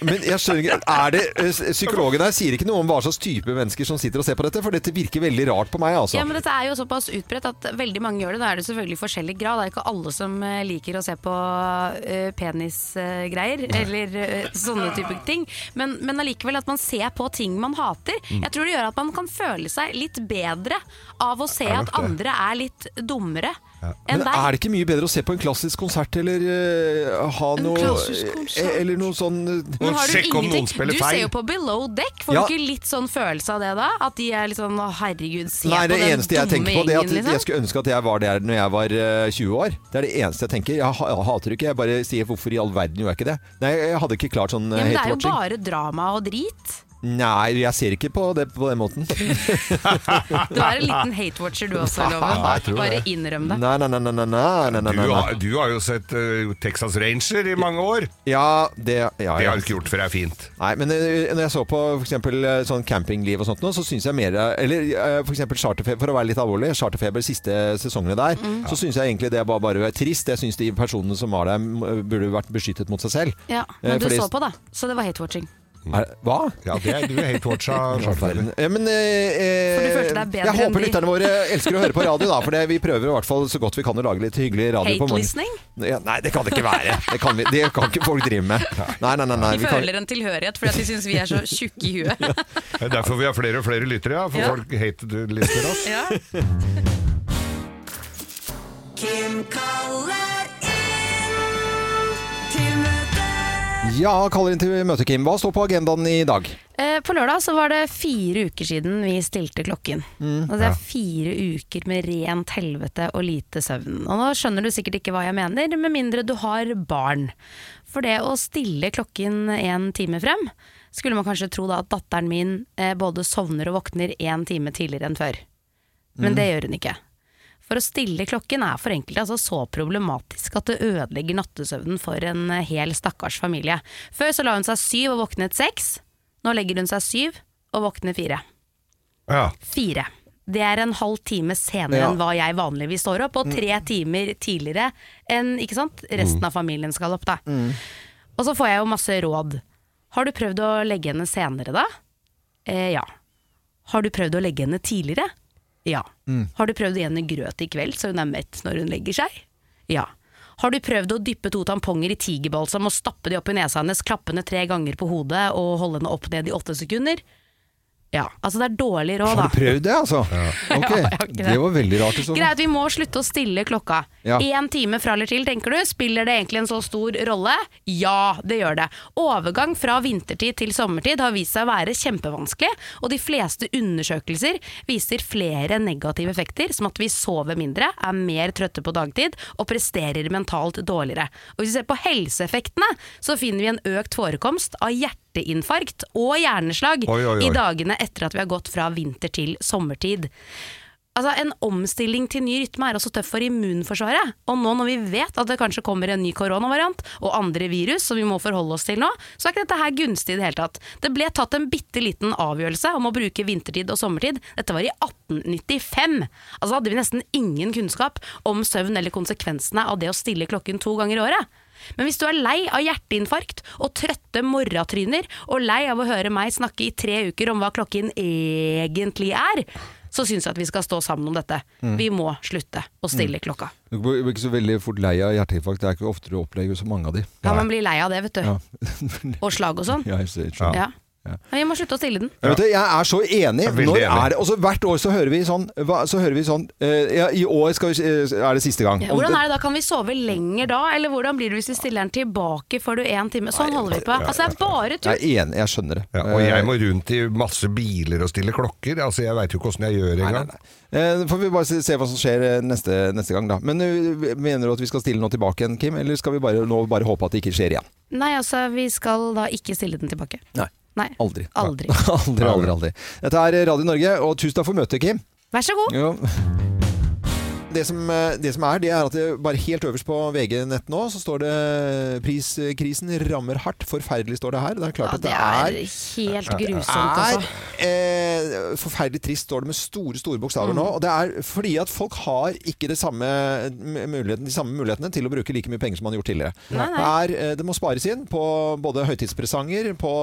[SPEAKER 1] men jeg skjønner ikke er det, eh, Psykologen her sier ikke noe om hva slags type mennesker som sitter og ser på dette, for dette virker veldig rart på meg, altså.
[SPEAKER 3] Ja, men dette er jo såpass utbredt at veldig mange gjør det. Da er det selvfølgelig forskjellig grad. Det er ikke alle som eh, liker å se på eh, penisgreier eller eh, sånne type ting. Men, men allikevel at man ser på ting man hater.
[SPEAKER 10] Mm.
[SPEAKER 3] Jeg tror det gjør at man kan føle seg litt bedre av å se
[SPEAKER 1] Det er nok
[SPEAKER 3] at
[SPEAKER 1] det.
[SPEAKER 3] andre er litt dummere
[SPEAKER 1] Men
[SPEAKER 3] enn deg.
[SPEAKER 1] er det ikke mye bedre å se på en klassisk konsert eller eh, ha
[SPEAKER 3] En
[SPEAKER 1] noe
[SPEAKER 3] klassisk konsert?
[SPEAKER 1] eh, Eller noe sånn eh,
[SPEAKER 3] Men har du ingenting? Du ser jo på Below Deck. Får
[SPEAKER 1] Ja.
[SPEAKER 3] du ikke litt sånn følelse av det da? At de er litt sånn å herregud, se
[SPEAKER 1] Nei,
[SPEAKER 3] på
[SPEAKER 1] det
[SPEAKER 3] den
[SPEAKER 1] eneste jeg
[SPEAKER 3] dumme
[SPEAKER 1] tenker på, det er at
[SPEAKER 3] gjengen, liksom.
[SPEAKER 1] jeg skulle ønske at jeg var der når jeg var eh, 20 år. Det er det eneste jeg tenker. Jeg, ha- jeg hater det ikke. Jeg bare sier hvorfor i all verden gjorde jeg ikke det? Nei, jeg hadde ikke klart sånn eh,
[SPEAKER 3] ja, men det er jo
[SPEAKER 1] hate-watching.
[SPEAKER 3] bare drama og drit.
[SPEAKER 1] Nei, jeg ser ikke på det på den måten.
[SPEAKER 3] Du er en liten hate-watcher du også, Loven.
[SPEAKER 1] Ja, jeg tror
[SPEAKER 3] Bare
[SPEAKER 1] det.
[SPEAKER 3] innrøm det.
[SPEAKER 1] Nei, nei, nei, nei, nei, nei, nei, nei,
[SPEAKER 2] Du
[SPEAKER 1] nei.
[SPEAKER 2] har, du har jo sett eh, Texas Ranger i mange år.
[SPEAKER 1] Ja, det ja,
[SPEAKER 2] Det
[SPEAKER 1] ja.
[SPEAKER 2] har du ikke gjort, for det er fint.
[SPEAKER 1] Nei, men eh, når jeg så på for eksempel eh, sånn campingliv og sånt nå, så syns jeg mer eh, Eller eh, for eksempel Charterfeber, for å være litt alvorlig, Charterfeber siste sesongene der,
[SPEAKER 3] Mm.
[SPEAKER 1] så syns jeg egentlig det var bare trist. Jeg syns de personene som var der, m- burde vært beskyttet mot seg selv.
[SPEAKER 3] Ja,
[SPEAKER 1] Eh,
[SPEAKER 3] men du
[SPEAKER 1] fordi-
[SPEAKER 3] så på, da. Så det var hate-watching.
[SPEAKER 1] Er, hva?
[SPEAKER 2] Ja, det er- du er helt watcha, Charterfeber.
[SPEAKER 1] Ja, men eh, eh,
[SPEAKER 3] For du følte deg bedre
[SPEAKER 1] Jeg
[SPEAKER 3] enn
[SPEAKER 1] håper
[SPEAKER 3] de.
[SPEAKER 1] lytterne våre elsker å høre på radio, da. For det, vi prøver i hvert fall så godt vi kan å lage litt hyggelig radio på morgenen.
[SPEAKER 3] Hate-listening?
[SPEAKER 1] Ja, nei, det kan det ikke være. Det kan, vi, det kan ikke folk drive med. Nei, nei, nei. nei
[SPEAKER 3] De
[SPEAKER 1] vi kan,
[SPEAKER 3] føler en tilhørighet fordi at de syns vi er så tjukke i huet.
[SPEAKER 2] Det er derfor vi har flere og flere lyttere, ja. For
[SPEAKER 3] Ja.
[SPEAKER 2] folk hate-lister oss.
[SPEAKER 3] Ja.
[SPEAKER 10] Kim kaller inn til møte.
[SPEAKER 1] ja, kaller inn til møte, Kim. Hva står på agendaen i dag?
[SPEAKER 3] Eh, På lørdag så var det fire uker siden vi stilte klokken.
[SPEAKER 1] Mm.
[SPEAKER 3] Og det
[SPEAKER 1] Ja.
[SPEAKER 3] er fire uker med rent helvete og lite søvn. Og nå skjønner du sikkert ikke hva jeg mener, med mindre du har barn. For det å stille klokken en time frem, skulle man kanskje tro da at datteren min eh, både sovner og våkner en time tidligere enn før. Men
[SPEAKER 10] Mm.
[SPEAKER 3] det gjør hun ikke. For å stille klokken er for enkelte altså så problematisk at det ødelegger nattesøvnen for en eh, hel stakkars familie. Før så la hun seg syv og våknet seks. Nå legger hun seg syv og våkner fire.
[SPEAKER 2] Ja.
[SPEAKER 3] Fire. Det er en halv time senere
[SPEAKER 10] Ja.
[SPEAKER 3] enn hva jeg vanligvis står opp, og tre timer tidligere enn ikke sant? resten
[SPEAKER 10] Mm.
[SPEAKER 3] av familien skal opp. da. Og så får jeg jo masse råd. Har du prøvd å legge henne senere, da? Eh, ja. Har du prøvd å legge henne tidligere? Ja.
[SPEAKER 10] Mm.
[SPEAKER 3] Har du prøvd å gi henne grøt i kveld, så hun er mett når hun legger seg? Ja. Har du prøvd å dyppe to tamponger i tigerbalsam og stappe de opp i nesa hennes, klappe henne tre ganger på hodet og holde henne opp ned i åtte sekunder? Ja. Altså, det er dårlig råd,
[SPEAKER 1] Har
[SPEAKER 3] da.
[SPEAKER 1] du prøvd det, altså? Ok,
[SPEAKER 3] Ja, jeg har ikke det.
[SPEAKER 1] det var veldig rart. liksom. i så fall.
[SPEAKER 3] Greit, vi må slutte å stille klokka.
[SPEAKER 1] Ja.
[SPEAKER 3] Én time fra eller til, tenker du. Spiller det egentlig en så stor rolle? Ja, det gjør det. Overgang fra vintertid til sommertid har vist seg å være kjempevanskelig, og de fleste undersøkelser viser flere negative effekter, som at vi sover mindre, er mer trøtte på dagtid og presterer mentalt dårligere. Og hvis vi ser på helseeffektene, så finner vi en økt forekomst av hjerteinfarkt og hjerneslag
[SPEAKER 10] Oi, oi, oi.
[SPEAKER 3] i dagene etter at vi har gått fra vinter til sommertid. Altså, En omstilling til ny rytme er også tøff for immunforsvaret. Og nå når vi vet at det kanskje kommer en ny koronavariant og andre virus som vi må forholde oss til nå, så er ikke dette her gunstig i det hele tatt. Det ble tatt en bitte liten avgjørelse om å bruke vintertid og sommertid. Dette var i 1895. Altså hadde vi nesten ingen kunnskap om søvn eller konsekvensene av det å stille klokken to ganger i året. Men hvis du er lei av hjerteinfarkt og trøtte morratryner, og lei av å høre meg snakke i tre uker om hva klokken egentlig er, så syns jeg at vi skal stå sammen om dette.
[SPEAKER 1] Mm.
[SPEAKER 3] Vi må slutte å stille klokka.
[SPEAKER 1] Du blir ikke så veldig fort lei av hjerteinfarkt. Det er ikke ofte du opplever så mange av de.
[SPEAKER 3] Ja, Man blir lei av det, vet du.
[SPEAKER 1] Ja.
[SPEAKER 3] Og slag og sånn.
[SPEAKER 1] Ja, jeg ser- skjønner.
[SPEAKER 3] Ja. Men vi må slutte å stille den.
[SPEAKER 1] Ja. Vet du, jeg er så enig.
[SPEAKER 3] Jeg er veldig
[SPEAKER 1] Når
[SPEAKER 3] enig.
[SPEAKER 1] er det, også hvert år så hører vi sånn, hva, så hører vi sånn eh, ja, I år skal vi, eh, er det siste gang.
[SPEAKER 3] Ja, hvordan er det da? Kan vi sove lenger da? Eller hvordan blir det hvis vi stiller den tilbake før du én time? Sånn holder vi på. Altså, det er bare tull.
[SPEAKER 1] Jeg er enig, jeg skjønner det. Eh,
[SPEAKER 2] Ja, og jeg må rundt i masse biler og stille klokker. Altså, Jeg veit jo ikke åssen jeg gjør engang.
[SPEAKER 1] Eh, får vi bare se, se hva som skjer eh, neste, neste gang, da. Men eh, mener du at vi skal stille nå tilbake igjen, Kim? Eller skal vi bare, nå bare håpe at det ikke skjer igjen?
[SPEAKER 3] Nei, altså, vi skal da ikke stille den tilbake.
[SPEAKER 1] Nei.
[SPEAKER 3] Nei.
[SPEAKER 1] Aldri.
[SPEAKER 3] Aldri.
[SPEAKER 1] aldri, aldri, aldri. Dette er Radio Norge, og tusen takk for møtet, Kim.
[SPEAKER 3] Vær så god.
[SPEAKER 1] Jo. Det som, eh, det som er, det er at det bare helt øverst på VG-nett nå, så står det priskrisen rammer hardt. Forferdelig står det her. Det er klart
[SPEAKER 3] Det
[SPEAKER 1] at
[SPEAKER 3] er
[SPEAKER 1] det er
[SPEAKER 3] helt
[SPEAKER 1] det
[SPEAKER 3] grusomt,
[SPEAKER 1] er,
[SPEAKER 3] altså.
[SPEAKER 1] eh, forferdelig trist, står det med store store bokstaver
[SPEAKER 3] Mm.
[SPEAKER 1] nå. Og det er fordi at folk har ikke det samme m- muligheten, de samme mulighetene til å bruke like mye penger som man har gjort tidligere. Det, er, eh, det må spares inn på både høytidspresanger, på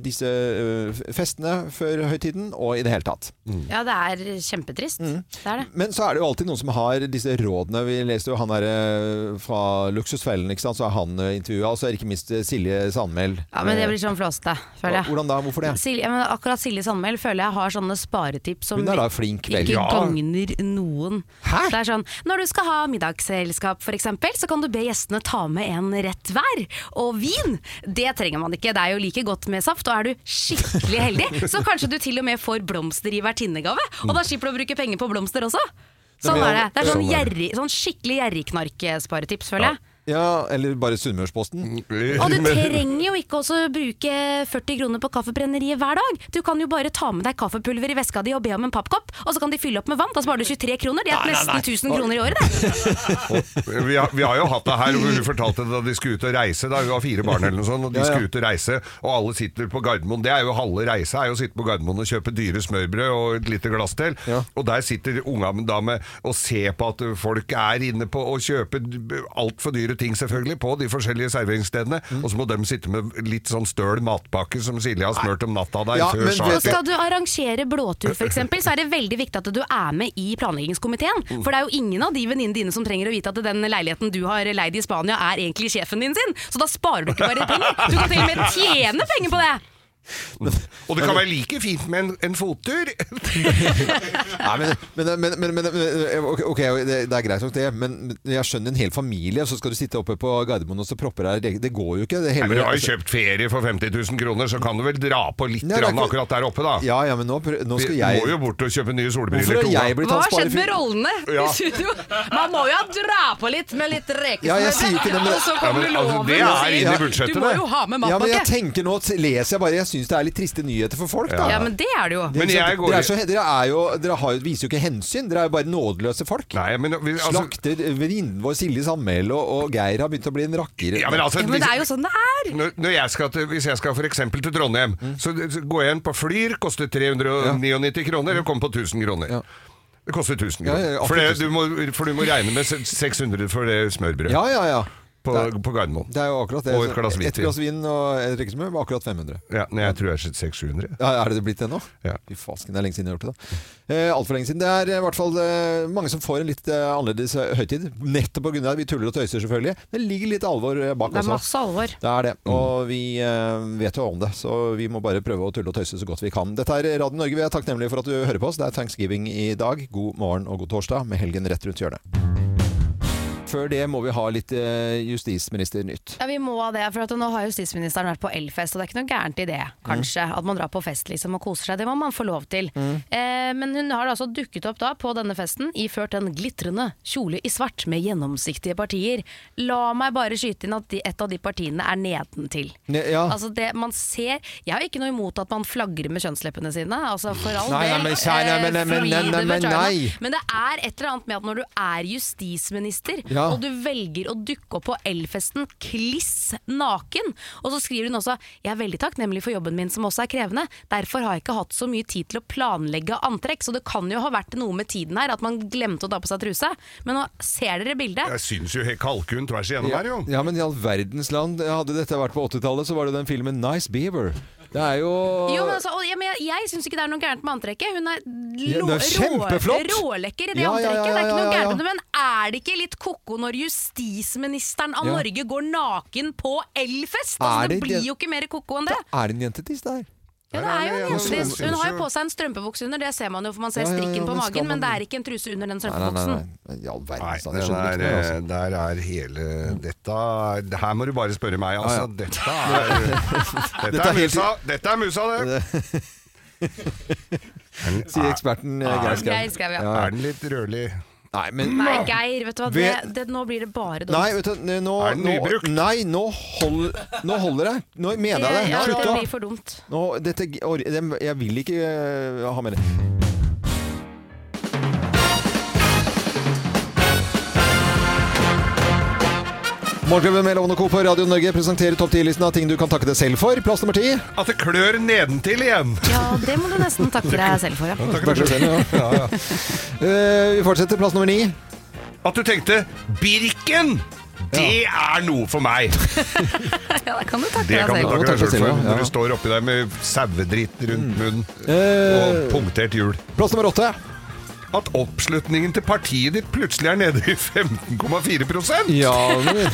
[SPEAKER 1] disse eh, festene før høytiden, og i det hele tatt.
[SPEAKER 3] Ja, det er kjempetrist.
[SPEAKER 1] Mm.
[SPEAKER 3] Det er det.
[SPEAKER 1] Men så er det jo alltid noen som har disse rådene. Vi leste jo han der eh, fra Luksusfellen, ikke sant? så er han intervjua. Og så er det ikke minst eh, Silje Sandmæl.
[SPEAKER 3] Ja, men det blir sånn flåsete, føler jeg.
[SPEAKER 1] Eh, Hvordan da? Hvorfor det?
[SPEAKER 3] Silje, ja, men akkurat Silje Sandmæl føler jeg har sånne sparetips som
[SPEAKER 1] Hun er da flink, vel?
[SPEAKER 3] ikke
[SPEAKER 1] Ja.
[SPEAKER 3] gagner noen. Det er sånn, Når du skal ha middagsselskap f.eks., så kan du be gjestene ta med en rett hver. Og vin, det trenger man ikke. Det er jo like godt med saft. Og er du skikkelig heldig, så kanskje du til og med får blomster i vertinnegave. Og da slipper du å bruke penger på blomster også. Sånn er det. Det er sånn, gjerrig, sånn skikkelig gjerrigknark-sparetips, føler jeg.
[SPEAKER 1] Ja, eller bare
[SPEAKER 3] Mm.
[SPEAKER 1] Sunnmørsposten.
[SPEAKER 3] Og du trenger jo ikke også bruke 40 kroner på kaffebrenneriet hver dag. Du kan jo bare ta med deg kaffepulver i veska di og be om en pappkopp, og så kan de fylle opp med vann. Da sparer du 23 kroner. Det er
[SPEAKER 2] Nei, nei, nei.
[SPEAKER 3] nesten 1000 kroner i året, det.
[SPEAKER 2] vi, har, vi har jo hatt det her, hvor hun fortalte da de skulle ut og reise. Da hun var fire barn eller noe sånt, og de
[SPEAKER 1] Ja, ja.
[SPEAKER 2] skulle ut og reise, og alle sitter på Gardermoen. Det er jo halve reisa, er jo å sitte på Gardermoen og kjøpe dyre smørbrød og et lite glass til. Og der sitter unga med da med og ser på at folk er inne på og kjøper altfor dyre ting, selvfølgelig, på de forskjellige serveringsstedene.
[SPEAKER 1] Mm.
[SPEAKER 2] Og så må de sitte med litt sånn støl matpakke som Silje har smurt om natta der
[SPEAKER 1] Ja,
[SPEAKER 2] før
[SPEAKER 1] men
[SPEAKER 2] saken.
[SPEAKER 3] Og skal du arrangere blåtur f.eks., så er det veldig viktig at du er med i planleggingskomiteen. For det er jo ingen av de venninnene dine som trenger å vite at den leiligheten du har leid i Spania, er egentlig sjefen din sin. Så da sparer du ikke bare penger, du kan til og med tjene penger på det.
[SPEAKER 2] Og det kan være like fint med en, en fottur.
[SPEAKER 1] Nei, men, men, men, men, men, men ok, ok, det, det er greit nok det, men jeg skjønner en hel familie, og så skal du sitte oppe på Gardermoen og så propper deg Det- Det går jo ikke. Det
[SPEAKER 2] Nei,
[SPEAKER 1] hele,
[SPEAKER 2] men du har jo kjøpt ferie for 50 000 kroner, så kan du vel dra på litt
[SPEAKER 1] altså- Nei, det er
[SPEAKER 2] rann
[SPEAKER 1] ikke-
[SPEAKER 2] akkurat der oppe, da?
[SPEAKER 1] Ja, ja, men nå, prø- nå skal
[SPEAKER 2] Vi
[SPEAKER 1] jeg
[SPEAKER 2] må jo bort og kjøpe nye
[SPEAKER 1] Hvorfor
[SPEAKER 2] solbriller.
[SPEAKER 1] har
[SPEAKER 2] til ungene.
[SPEAKER 1] jeg blitt
[SPEAKER 3] Hva har skjedd med rollene
[SPEAKER 2] Ja.
[SPEAKER 3] i studio? Man må jo dra på litt med litt rekesmør.
[SPEAKER 1] Ja, jeg sier ikke det, men-
[SPEAKER 3] Og så
[SPEAKER 1] Ja,
[SPEAKER 3] kommer
[SPEAKER 1] men, altså,
[SPEAKER 3] loven
[SPEAKER 1] det
[SPEAKER 3] og
[SPEAKER 1] er
[SPEAKER 3] sier,
[SPEAKER 1] inn i budsjettet,
[SPEAKER 3] Du må
[SPEAKER 1] det."
[SPEAKER 3] jo ha med
[SPEAKER 1] Ja, men jeg
[SPEAKER 3] matpakke.
[SPEAKER 1] tenker nå, t- leser jeg bare Jeg syns det er litt triste nyheter for folk,
[SPEAKER 3] Ja,
[SPEAKER 1] da.
[SPEAKER 3] men det er det jo.
[SPEAKER 1] Dere, dere, er så, dere, er jo, dere har, jo- viser jo ikke hensyn, dere er jo bare nådeløse folk.
[SPEAKER 2] altså-
[SPEAKER 1] Slakter eh, venninnen vår Silje Sandmæl, og, og Geir har begynt å bli en rakker.
[SPEAKER 2] Ja, men altså,
[SPEAKER 3] Ja, men det er jo sånn det er.
[SPEAKER 2] Når, når jeg skal til, hvis jeg skal for eksempel til Trondheim,
[SPEAKER 1] Mm.
[SPEAKER 2] så så går jeg inn på Flyr, koster 399 kroner, og kommer på 1000 kroner. Det koster 1000
[SPEAKER 1] Ja,
[SPEAKER 2] kroner.
[SPEAKER 1] ja, ja,
[SPEAKER 2] for,
[SPEAKER 1] 8000.
[SPEAKER 2] det, du må, for du må regne med se- 600 for det smørbrødet.
[SPEAKER 1] Ja, ja, ja.
[SPEAKER 2] På, på Gardermoen.
[SPEAKER 1] Det er jo akkurat det.
[SPEAKER 2] Og et glass
[SPEAKER 1] Et
[SPEAKER 2] hvitvin.
[SPEAKER 1] glass vin og et drikkesmør var akkurat 500.
[SPEAKER 2] Ja, nei, jeg tror jeg er 600.
[SPEAKER 1] Ja, er det det blitt det nå? Fy fasken, det er lenge siden jeg har gjort det. da. Eh, Altfor lenge siden. Det er eh, i hvert fall eh, mange som får en litt eh, annerledes eh, høytid. Nettopp pga. at vi tuller og tøyser, selvfølgelig. Men det ligger litt alvor eh, bak
[SPEAKER 3] Det er
[SPEAKER 1] også.
[SPEAKER 3] masse alvor.
[SPEAKER 1] Det er det. Og vi eh, vet jo om det, så vi må bare prøve å tulle og tøyse så godt vi kan. Dette er Radio Norge. Vi er takknemlige for at du hører på oss. Det er thanksgiving i dag. God morgen og god torsdag med helgen rett rundt hjørnet. før det må vi ha litt eh, justisministernytt.
[SPEAKER 3] Ja, Vi må ha det, for at nå har justisministeren vært på elfest, og det er ikke noe gærent i det, kanskje. At man drar på fest liksom og koser seg, det må man få lov til.
[SPEAKER 15] Mm.
[SPEAKER 3] Eh, men hun har altså dukket opp da på denne festen, iført en glitrende kjole i svart med gjennomsiktige partier. La meg bare skyte inn at de, et av de partiene er nedentil.
[SPEAKER 1] Ne- ja.
[SPEAKER 3] Altså det man ser Jeg har ikke noe imot at man flagrer med kjønnsleppene sine, altså for all
[SPEAKER 1] Nei,
[SPEAKER 3] del.
[SPEAKER 1] nei, men kjære,
[SPEAKER 3] eh,
[SPEAKER 1] nei, men- nei, men-
[SPEAKER 3] free
[SPEAKER 1] nei, nei,
[SPEAKER 3] the
[SPEAKER 1] men
[SPEAKER 3] vagina.
[SPEAKER 1] nei.
[SPEAKER 3] Men det er et eller annet med at når du er justisminister,
[SPEAKER 1] Ja.
[SPEAKER 3] og du velger å dukke opp på elfesten kliss naken, og så skriver hun også Jeg er veldig takknemlig for jobben min som også er krevende, derfor har jeg ikke hatt så mye tid til å planlegge antrekk, så det kan jo ha vært noe med tiden her, at man glemte å ta på seg truse. Men nå ser dere bildet.
[SPEAKER 2] Jeg syns jo helt kalkun tvers igjennom
[SPEAKER 1] Ja,
[SPEAKER 2] her, jo.
[SPEAKER 1] ja, men i all verdens land. Hadde dette vært på 80-tallet, så var det den filmen Nice Beaver. Det er jo,
[SPEAKER 3] Jo, men altså, og, ja, men jeg jeg syns ikke det er noe gærent med antrekket. Hun er,
[SPEAKER 1] Ja,
[SPEAKER 3] lo-
[SPEAKER 1] det er kjempeflott.
[SPEAKER 3] rå- rålekker i det
[SPEAKER 1] Ja, ja,
[SPEAKER 3] antrekket.
[SPEAKER 1] ja, ja,
[SPEAKER 3] Det er ikke noe
[SPEAKER 1] ja, ja.
[SPEAKER 3] gærent med det, men er det ikke litt ko-ko når justisministeren av
[SPEAKER 1] Ja.
[SPEAKER 3] Norge går naken på elfest?
[SPEAKER 1] Er
[SPEAKER 3] Altså, det
[SPEAKER 1] det
[SPEAKER 3] blir
[SPEAKER 1] det-
[SPEAKER 3] jo ikke mer ko-ko enn det.
[SPEAKER 1] Er det en jentetiss der?
[SPEAKER 3] Ja, det er jo
[SPEAKER 1] Ja,
[SPEAKER 3] en
[SPEAKER 1] men-
[SPEAKER 3] jentis. Hun har jo på seg en strømpebukse under, det ser man jo, for man ser
[SPEAKER 1] Ja, ja, ja,
[SPEAKER 3] strikken
[SPEAKER 1] men
[SPEAKER 3] på
[SPEAKER 1] skal
[SPEAKER 3] magen,
[SPEAKER 1] man-
[SPEAKER 3] men det er ikke en truse under den
[SPEAKER 2] Nei, nei, nei,
[SPEAKER 3] strømpebuksen.
[SPEAKER 1] Nei, i all
[SPEAKER 2] Nei,
[SPEAKER 1] verdens land. Jeg
[SPEAKER 2] den
[SPEAKER 1] skjønner
[SPEAKER 2] er, eh,
[SPEAKER 1] ikke mer, altså.
[SPEAKER 2] der er hele Dette er- det Her må du bare spørre meg,
[SPEAKER 1] Ja,
[SPEAKER 2] altså.
[SPEAKER 1] ja.
[SPEAKER 2] Dette er Dette
[SPEAKER 1] Dette er
[SPEAKER 2] er
[SPEAKER 1] helt-
[SPEAKER 2] musa, dette er musa det!
[SPEAKER 1] Sier eksperten eh, Geir Skau.
[SPEAKER 3] Geir Skau, ja.
[SPEAKER 2] Er den litt rødlig?
[SPEAKER 1] Nei, men
[SPEAKER 3] Nei, Geir, vet du hva, det,
[SPEAKER 1] Ved-
[SPEAKER 3] det, nå blir det bare dumt.
[SPEAKER 1] Nei, vet du, nå,
[SPEAKER 2] Er
[SPEAKER 1] nå,
[SPEAKER 2] den nybrukt?
[SPEAKER 1] nei nå, hold, nå holder det. Nå mener jeg det.
[SPEAKER 3] Ja,
[SPEAKER 1] Slutt
[SPEAKER 3] det
[SPEAKER 1] å
[SPEAKER 3] blir for dumt.
[SPEAKER 1] nå, dette, or- det- Jeg vil ikke eh, ha mer. Morgenklubben med Lovende Co. på Radio Norge presenterer topp 10-listen av ting du kan takke deg selv for. Plass nummer ti.
[SPEAKER 2] At det klør nedentil igjen!
[SPEAKER 3] Ja, det må du nesten takke deg selv for, ja.
[SPEAKER 1] Takk for selv, ja.
[SPEAKER 2] Ja, ja.
[SPEAKER 1] Eh, vi fortsetter. Plass nummer ni.
[SPEAKER 2] At du tenkte 'Birken, det er noe for meg'!
[SPEAKER 3] Ja, da kan du takke
[SPEAKER 2] Det
[SPEAKER 3] deg
[SPEAKER 2] kan du
[SPEAKER 3] selv.
[SPEAKER 2] takke deg
[SPEAKER 1] Takk
[SPEAKER 2] selv for
[SPEAKER 1] selv, ja.
[SPEAKER 2] når du står oppi der med sauedritt rundt munnen og
[SPEAKER 1] Eh,
[SPEAKER 2] punktert hjul.
[SPEAKER 1] Plass nummer åtte.
[SPEAKER 2] At oppslutningen til partiet ditt plutselig er nede i 15,4
[SPEAKER 1] Ja, men-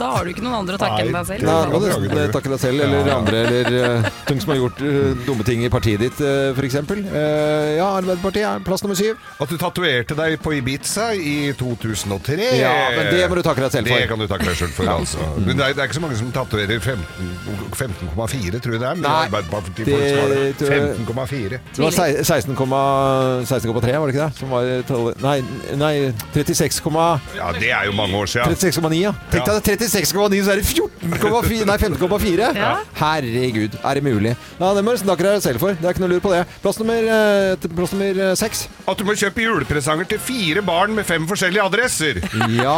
[SPEAKER 3] Da har du ikke noen andre å takke enn deg selv.
[SPEAKER 1] Nei, må du nesten takke deg selv eller andre, eller uh, som har gjort eh, dumme ting i partiet ditt, uh, f.eks. Uh, ja, Arbeiderpartiet er plass nummer syv.
[SPEAKER 2] At du tatoverte deg på Ibiza i 2003.
[SPEAKER 1] Ja, men det må du takke deg selv for.
[SPEAKER 2] Det kan du takke deg selv for,
[SPEAKER 1] Ja.
[SPEAKER 2] altså. Men det er, det er ikke så mange som tatoverer 15,4, 15,4, tror jeg det er. Men
[SPEAKER 1] Nei,
[SPEAKER 2] Arbeiderpartiet
[SPEAKER 1] det
[SPEAKER 2] folk har det.
[SPEAKER 1] tror jeg-
[SPEAKER 2] 15,4.
[SPEAKER 1] Det var sei- 16,3, var det ikke det? Som var tallet Nei, nei 36,9,
[SPEAKER 2] Ja, det er jo mange år siden.
[SPEAKER 1] ja. Tenk deg det, 36,9, så er det 14,4 Nei, 15,4!
[SPEAKER 2] Ja.
[SPEAKER 1] Herregud, er det mulig? Ja, Det må du nesten takke deg selv for. Det er ikke noe lur på det. Plass nummer, eh, t- plass nummer eh, seks.
[SPEAKER 2] At du må kjøpe julepresanger til fire barn med fem forskjellige adresser.
[SPEAKER 1] Ja!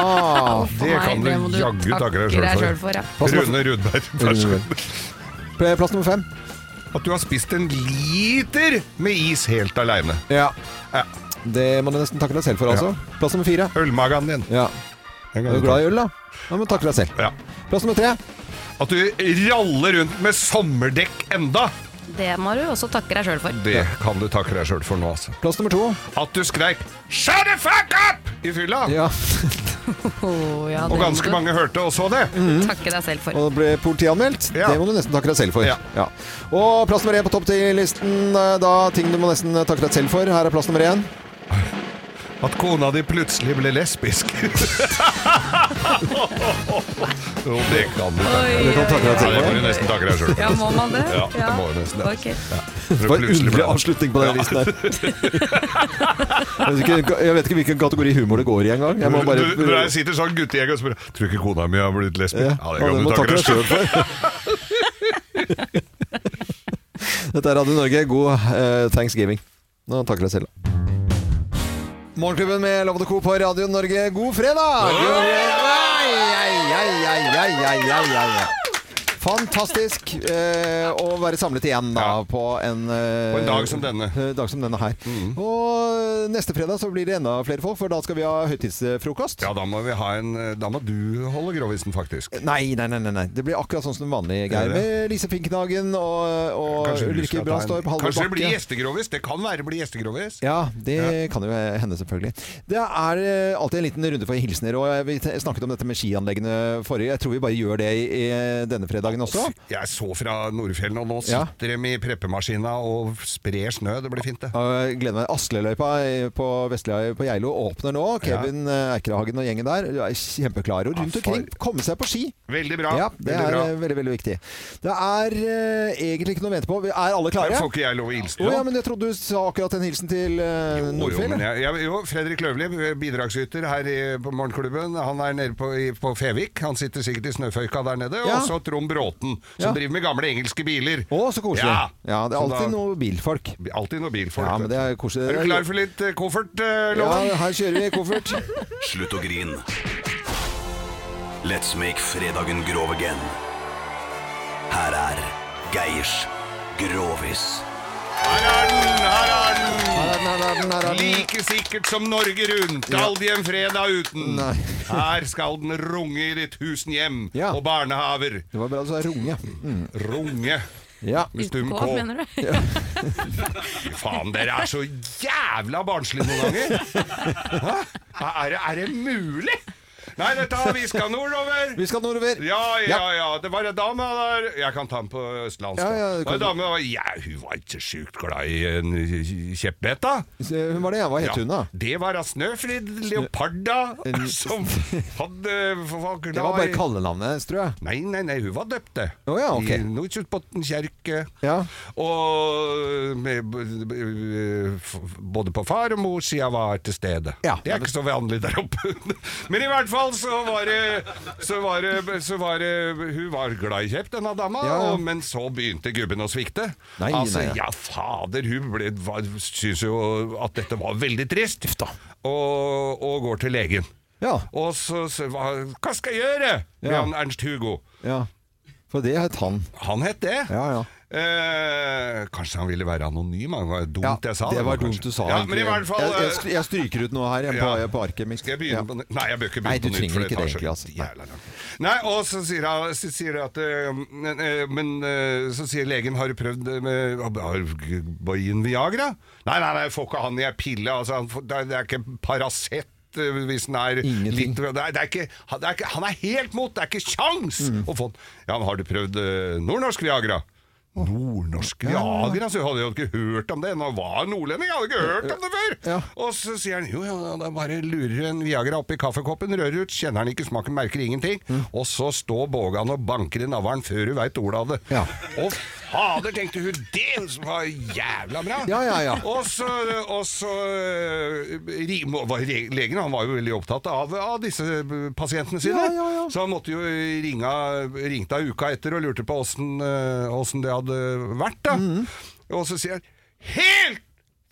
[SPEAKER 2] Det kan du jaggu takke deg selv for. Rune Rudberg, vær så god.
[SPEAKER 1] Plass nummer fem.
[SPEAKER 2] At du har spist en liter med is helt aleine.
[SPEAKER 1] Ja.
[SPEAKER 2] Ja.
[SPEAKER 1] Det må du nesten takke deg selv for, altså. Plass nummer fire.
[SPEAKER 2] Ølmagen din.
[SPEAKER 1] Ja.
[SPEAKER 2] Er
[SPEAKER 1] Er du glad i øl, da? Ja, men takke deg selv.
[SPEAKER 2] Ja.
[SPEAKER 1] Plass nummer tre.
[SPEAKER 2] At du raller rundt med sommerdekk enda.
[SPEAKER 3] Det må du også takke deg sjøl for.
[SPEAKER 2] Det kan du takke deg sjøl for nå, altså.
[SPEAKER 1] Plass nummer to.
[SPEAKER 2] At du skreik 'shut the fuck up' i fylla!
[SPEAKER 1] Ja.
[SPEAKER 3] Å, ja,
[SPEAKER 2] Og
[SPEAKER 3] det må
[SPEAKER 2] ganske
[SPEAKER 3] du
[SPEAKER 2] mange hørte og så det.
[SPEAKER 3] Takke deg selv for.
[SPEAKER 1] Og det ble politianmeldt. Det må du nesten takke deg selv for.
[SPEAKER 2] Ja.
[SPEAKER 1] Og plass nummer én på topp ti-listen, eh, da ting du må nesten eh, takke deg selv for. Her er plass nummer én.
[SPEAKER 2] At kona di plutselig ble lesbisk. Jo, det kan du takke
[SPEAKER 1] Oi, Det kan du takke deg selv
[SPEAKER 2] Ja, det
[SPEAKER 1] for.
[SPEAKER 2] må du nesten takke deg sjøl for.
[SPEAKER 1] Ja, må man det?
[SPEAKER 2] Ja, det
[SPEAKER 1] Ja.
[SPEAKER 2] må du nesten det.
[SPEAKER 3] Ok.
[SPEAKER 2] Ja.
[SPEAKER 1] Det var en underlig avslutning på den listen der. Jeg vet, ikke, jeg vet ikke hvilken kategori humor det går i engang. Jeg må bare
[SPEAKER 2] du, når jeg sitter sånn guttegjeng og spør 'Tror ikke kona mi har blitt lesbisk?' Ja, det kan
[SPEAKER 1] og
[SPEAKER 2] du
[SPEAKER 1] må
[SPEAKER 2] takke deg sjøl
[SPEAKER 1] selv
[SPEAKER 2] for.
[SPEAKER 1] Dette er Radio Norge. God eh, thanksgiving. Nå takker jeg selv. Morgenklubben med Lovende Co. på Radio Norge. God fredag! God fredag! Ai, ai, ai, ai, ai, ai, ai, ai. Fantastisk eh, å være samlet igjen da, på en eh,
[SPEAKER 2] På en dag som denne. Mm.
[SPEAKER 1] eh, dag som denne her. Og neste fredag så blir det enda flere folk, for da skal vi ha høytidsfrokost.
[SPEAKER 2] Ja, da må, vi ha en, eh, da må du holde grovisen, faktisk.
[SPEAKER 1] Nei, nei, nei, nei, nei. Det blir akkurat sånn som vanlig, Geir.
[SPEAKER 2] det?
[SPEAKER 1] Med Lise Finknagen og, og
[SPEAKER 2] Kanskje du
[SPEAKER 1] Ulrikke
[SPEAKER 2] skal ta en-
[SPEAKER 1] Brandstorp, Halvor
[SPEAKER 2] Kanskje det blir
[SPEAKER 1] Bakke.
[SPEAKER 2] gjestegrovis? Det kan være det blir gjestegrovis.
[SPEAKER 1] Ja, det kan jo hende, selvfølgelig. Det er eh, alltid en liten runde for hilsener. Og eh, vi te- snakket om dette med skianleggene forrige. Jeg tror vi bare gjør det i, i denne fredagen også.
[SPEAKER 2] Jeg så fra Nordfjellene, og nå
[SPEAKER 1] Ja.
[SPEAKER 2] sitter de i preppemaskina og sprer snø. Det blir fint, det.
[SPEAKER 1] Og jeg gleder meg. Asleløypa i eh, på Vestlia på Geilo åpner nå. Kevin eh, Eikrahagen og gjengen der er kjempeklare. Og rundt omkring, komme seg på ski!
[SPEAKER 2] Veldig bra.
[SPEAKER 1] Ja, det
[SPEAKER 2] Veldig
[SPEAKER 1] er
[SPEAKER 2] bra.
[SPEAKER 1] eh, veldig, veldig viktig. Det er eh, egentlig ikke noe å vente på. Vi- Er alle klare?
[SPEAKER 2] Her får ikke jeg lov å hilse
[SPEAKER 1] Å
[SPEAKER 2] nå.
[SPEAKER 1] ja, men jeg trodde du sa akkurat en hilsen til uh,
[SPEAKER 2] Jo, jo,
[SPEAKER 1] Nordfjell.
[SPEAKER 2] men jeg, jeg, jo, Fredrik Løvli, bidragsyter her i, på Morgenklubben. Han er nede på, i, på Fevik. Han sitter sikkert i snøføyka der nede.
[SPEAKER 1] Ja.
[SPEAKER 2] Og så Trond Bråten, som
[SPEAKER 1] Ja.
[SPEAKER 2] driver med gamle engelske biler.
[SPEAKER 1] Å, så koselig.
[SPEAKER 2] Ja.
[SPEAKER 1] det er
[SPEAKER 2] Så da-
[SPEAKER 1] alltid noe bilfolk.
[SPEAKER 2] Alltid noe bilfolk.
[SPEAKER 1] Ja, men det er koselig.
[SPEAKER 2] Er du klar for litt eh, koffert, eh, Loven?
[SPEAKER 1] Ja, her kjører vi koffert.
[SPEAKER 15] Slutt å grine. Let's make fredagen grov again. Her er Geirs Grovis.
[SPEAKER 2] Like sikkert som Norge rundt,
[SPEAKER 15] Ja.
[SPEAKER 2] aldri en fredag uten. Her skal den runge i ditt tusen hjem og barnehaver.
[SPEAKER 1] Det var bra du sa runge.
[SPEAKER 2] Runge.
[SPEAKER 1] Ja.
[SPEAKER 2] Med stum K.
[SPEAKER 3] Hva mener du?
[SPEAKER 2] Fy faen, dere er så jævla barnslige noen ganger! Hæ? Er, det- er det mulig? Nei, dette har vi skal nordover!
[SPEAKER 1] Vi skal nordover.
[SPEAKER 2] Ja, ja,
[SPEAKER 1] Ja.
[SPEAKER 2] ja. Det var en dame der Jeg kan ta den på østlandsk.
[SPEAKER 1] Ja, ja,
[SPEAKER 2] da.
[SPEAKER 1] det
[SPEAKER 2] Det var
[SPEAKER 1] kan
[SPEAKER 2] en
[SPEAKER 1] du.
[SPEAKER 2] dame, der var- ja, hun var ikke sjukt glad i en kjeppbett, da.
[SPEAKER 1] Se, Hun var det, ja. Hva het
[SPEAKER 2] Ja.
[SPEAKER 1] hun, da?
[SPEAKER 2] Det var av Snøfrid Leoparda som hadde var glad
[SPEAKER 1] Det var bare
[SPEAKER 2] i-
[SPEAKER 1] kallenavnet hennes, tror jeg.
[SPEAKER 2] Nei, nei, nei, hun var døpt, det.
[SPEAKER 1] Å ja, ok.
[SPEAKER 2] I Nordkjøttbotn kjerke.
[SPEAKER 1] Ja.
[SPEAKER 2] Og eh, med, b- b- f- både på far og mor sida var til stede. Det er ikke så vanlig der oppe. Men i hvert fall så var det, så var det, så var det Hun var glad i kjepp, denne dama,
[SPEAKER 1] Ja, ja.
[SPEAKER 2] Og, men så begynte gubben å svikte.
[SPEAKER 1] Nei,
[SPEAKER 2] altså,
[SPEAKER 1] nei.
[SPEAKER 2] ja fader, hun ble, var, synes jo at dette var veldig trist, Og, og går til legen. Og så, så hva, hva skal jeg gjøre? med
[SPEAKER 1] Ja.
[SPEAKER 2] han Ernst Hugo.
[SPEAKER 1] Ja. For det het han.
[SPEAKER 2] Han het det.
[SPEAKER 1] Ja, ja.
[SPEAKER 2] Eh, kanskje han ville være anonym? Han var dumt jeg sa.
[SPEAKER 1] det var dumt
[SPEAKER 2] kanskje.
[SPEAKER 1] du sa.
[SPEAKER 2] Ja,
[SPEAKER 1] egentlig.
[SPEAKER 2] men i hvert fall eh,
[SPEAKER 1] jeg, jeg, stry- jeg stryker ut noe her jeg, på,
[SPEAKER 2] Ja.
[SPEAKER 1] på arket mitt.
[SPEAKER 2] Skal jeg begynne
[SPEAKER 1] Ja.
[SPEAKER 2] på nytt? Nei, jeg bør ikke begynne
[SPEAKER 1] Nei, du
[SPEAKER 2] på nytt, for
[SPEAKER 1] trenger
[SPEAKER 2] det
[SPEAKER 1] ikke
[SPEAKER 2] tar
[SPEAKER 1] det,
[SPEAKER 2] så
[SPEAKER 1] egentlig. Altså.
[SPEAKER 2] jævla lang Nei, og så sier, han, så sier jeg at eh, men, eh, Men eh, så sier legen Har du prøvd eh, med Har Boyen Viagra? Nei, nei, nei, får ikke han i ei pille. Altså, han får, det, er, det er ikke Paracet eh, hvis den er litt det er, det er ikke, han, det er ikke, han er helt mot! Det er ikke kjangs å få den! Ja, men har du prøvd eh, nordnorsk Viagra? Nordnorsk Viagra? Så jeg hadde jo ikke hørt om det. Han var nordlending, jeg hadde ikke hørt om det før! Og så sier han jo, ja, da bare lurer en Viagra oppi kaffekoppen, rører ut, kjenner han ikke smaken, merker ingenting. Og så står Bågan og banker i navlen før hun veit ordet av det. Å fader, tenkte hun, det var jævla bra!
[SPEAKER 1] Ja, ja, ja.
[SPEAKER 2] Og så, og så eh, ri- må- var re- Legen han var jo veldig opptatt av, av disse eh, pasientene sine, så han måtte jo ringe, ringte av uka etter og lurte på åssen eh, åssen det hadde vært. da.
[SPEAKER 1] Mm.
[SPEAKER 2] Og så sier han Helt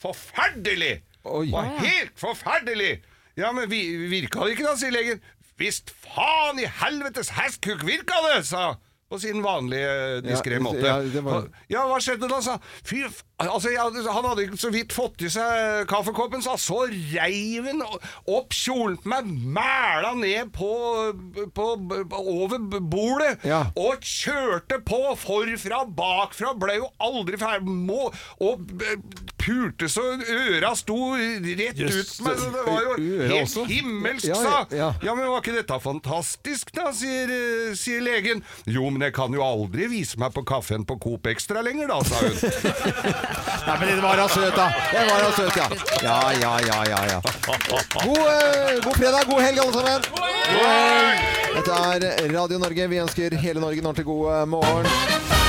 [SPEAKER 2] forferdelig! Det var helt forferdelig! Ja, men vi, virka det ikke da, sier legen. Visst faen i helvetes hestkuk virka det, sa på sin vanlige diskré
[SPEAKER 1] Ja,
[SPEAKER 2] måte.
[SPEAKER 1] ja, det var-
[SPEAKER 2] Ja, hva skjedde da, sa han. Fy, f- altså, jeg, hadde- han hadde ikke så vidt fått i seg kaffekoppen, sa han. så reiv han opp kjolen på meg, mæla ned på, på, over bordet,
[SPEAKER 1] Ja.
[SPEAKER 2] og kjørte på forfra, bakfra, ble jo aldri ferdig, må, og b- pulte så øra sto rett
[SPEAKER 1] Jøss,
[SPEAKER 2] ut, men det var
[SPEAKER 1] ø-
[SPEAKER 2] jo
[SPEAKER 1] øra
[SPEAKER 2] helt
[SPEAKER 1] også?
[SPEAKER 2] himmelsk,
[SPEAKER 1] Ja,
[SPEAKER 2] sa
[SPEAKER 1] ja.
[SPEAKER 2] ja, men var ikke dette fantastisk da, sier, eh, sier legen. Jo, men jeg kan jo aldri vise meg på kaffen på Coop Extra lenger da, sa hun.
[SPEAKER 1] Nei, men det var da søt, da. Det var da søt, ja. Ja, ja, ja, ja. ja. God, eh, god fredag, god helg, alle sammen. God helg! Dette er Radio Norge. Vi ønsker hele Norge en ordentlig god eh, morgen.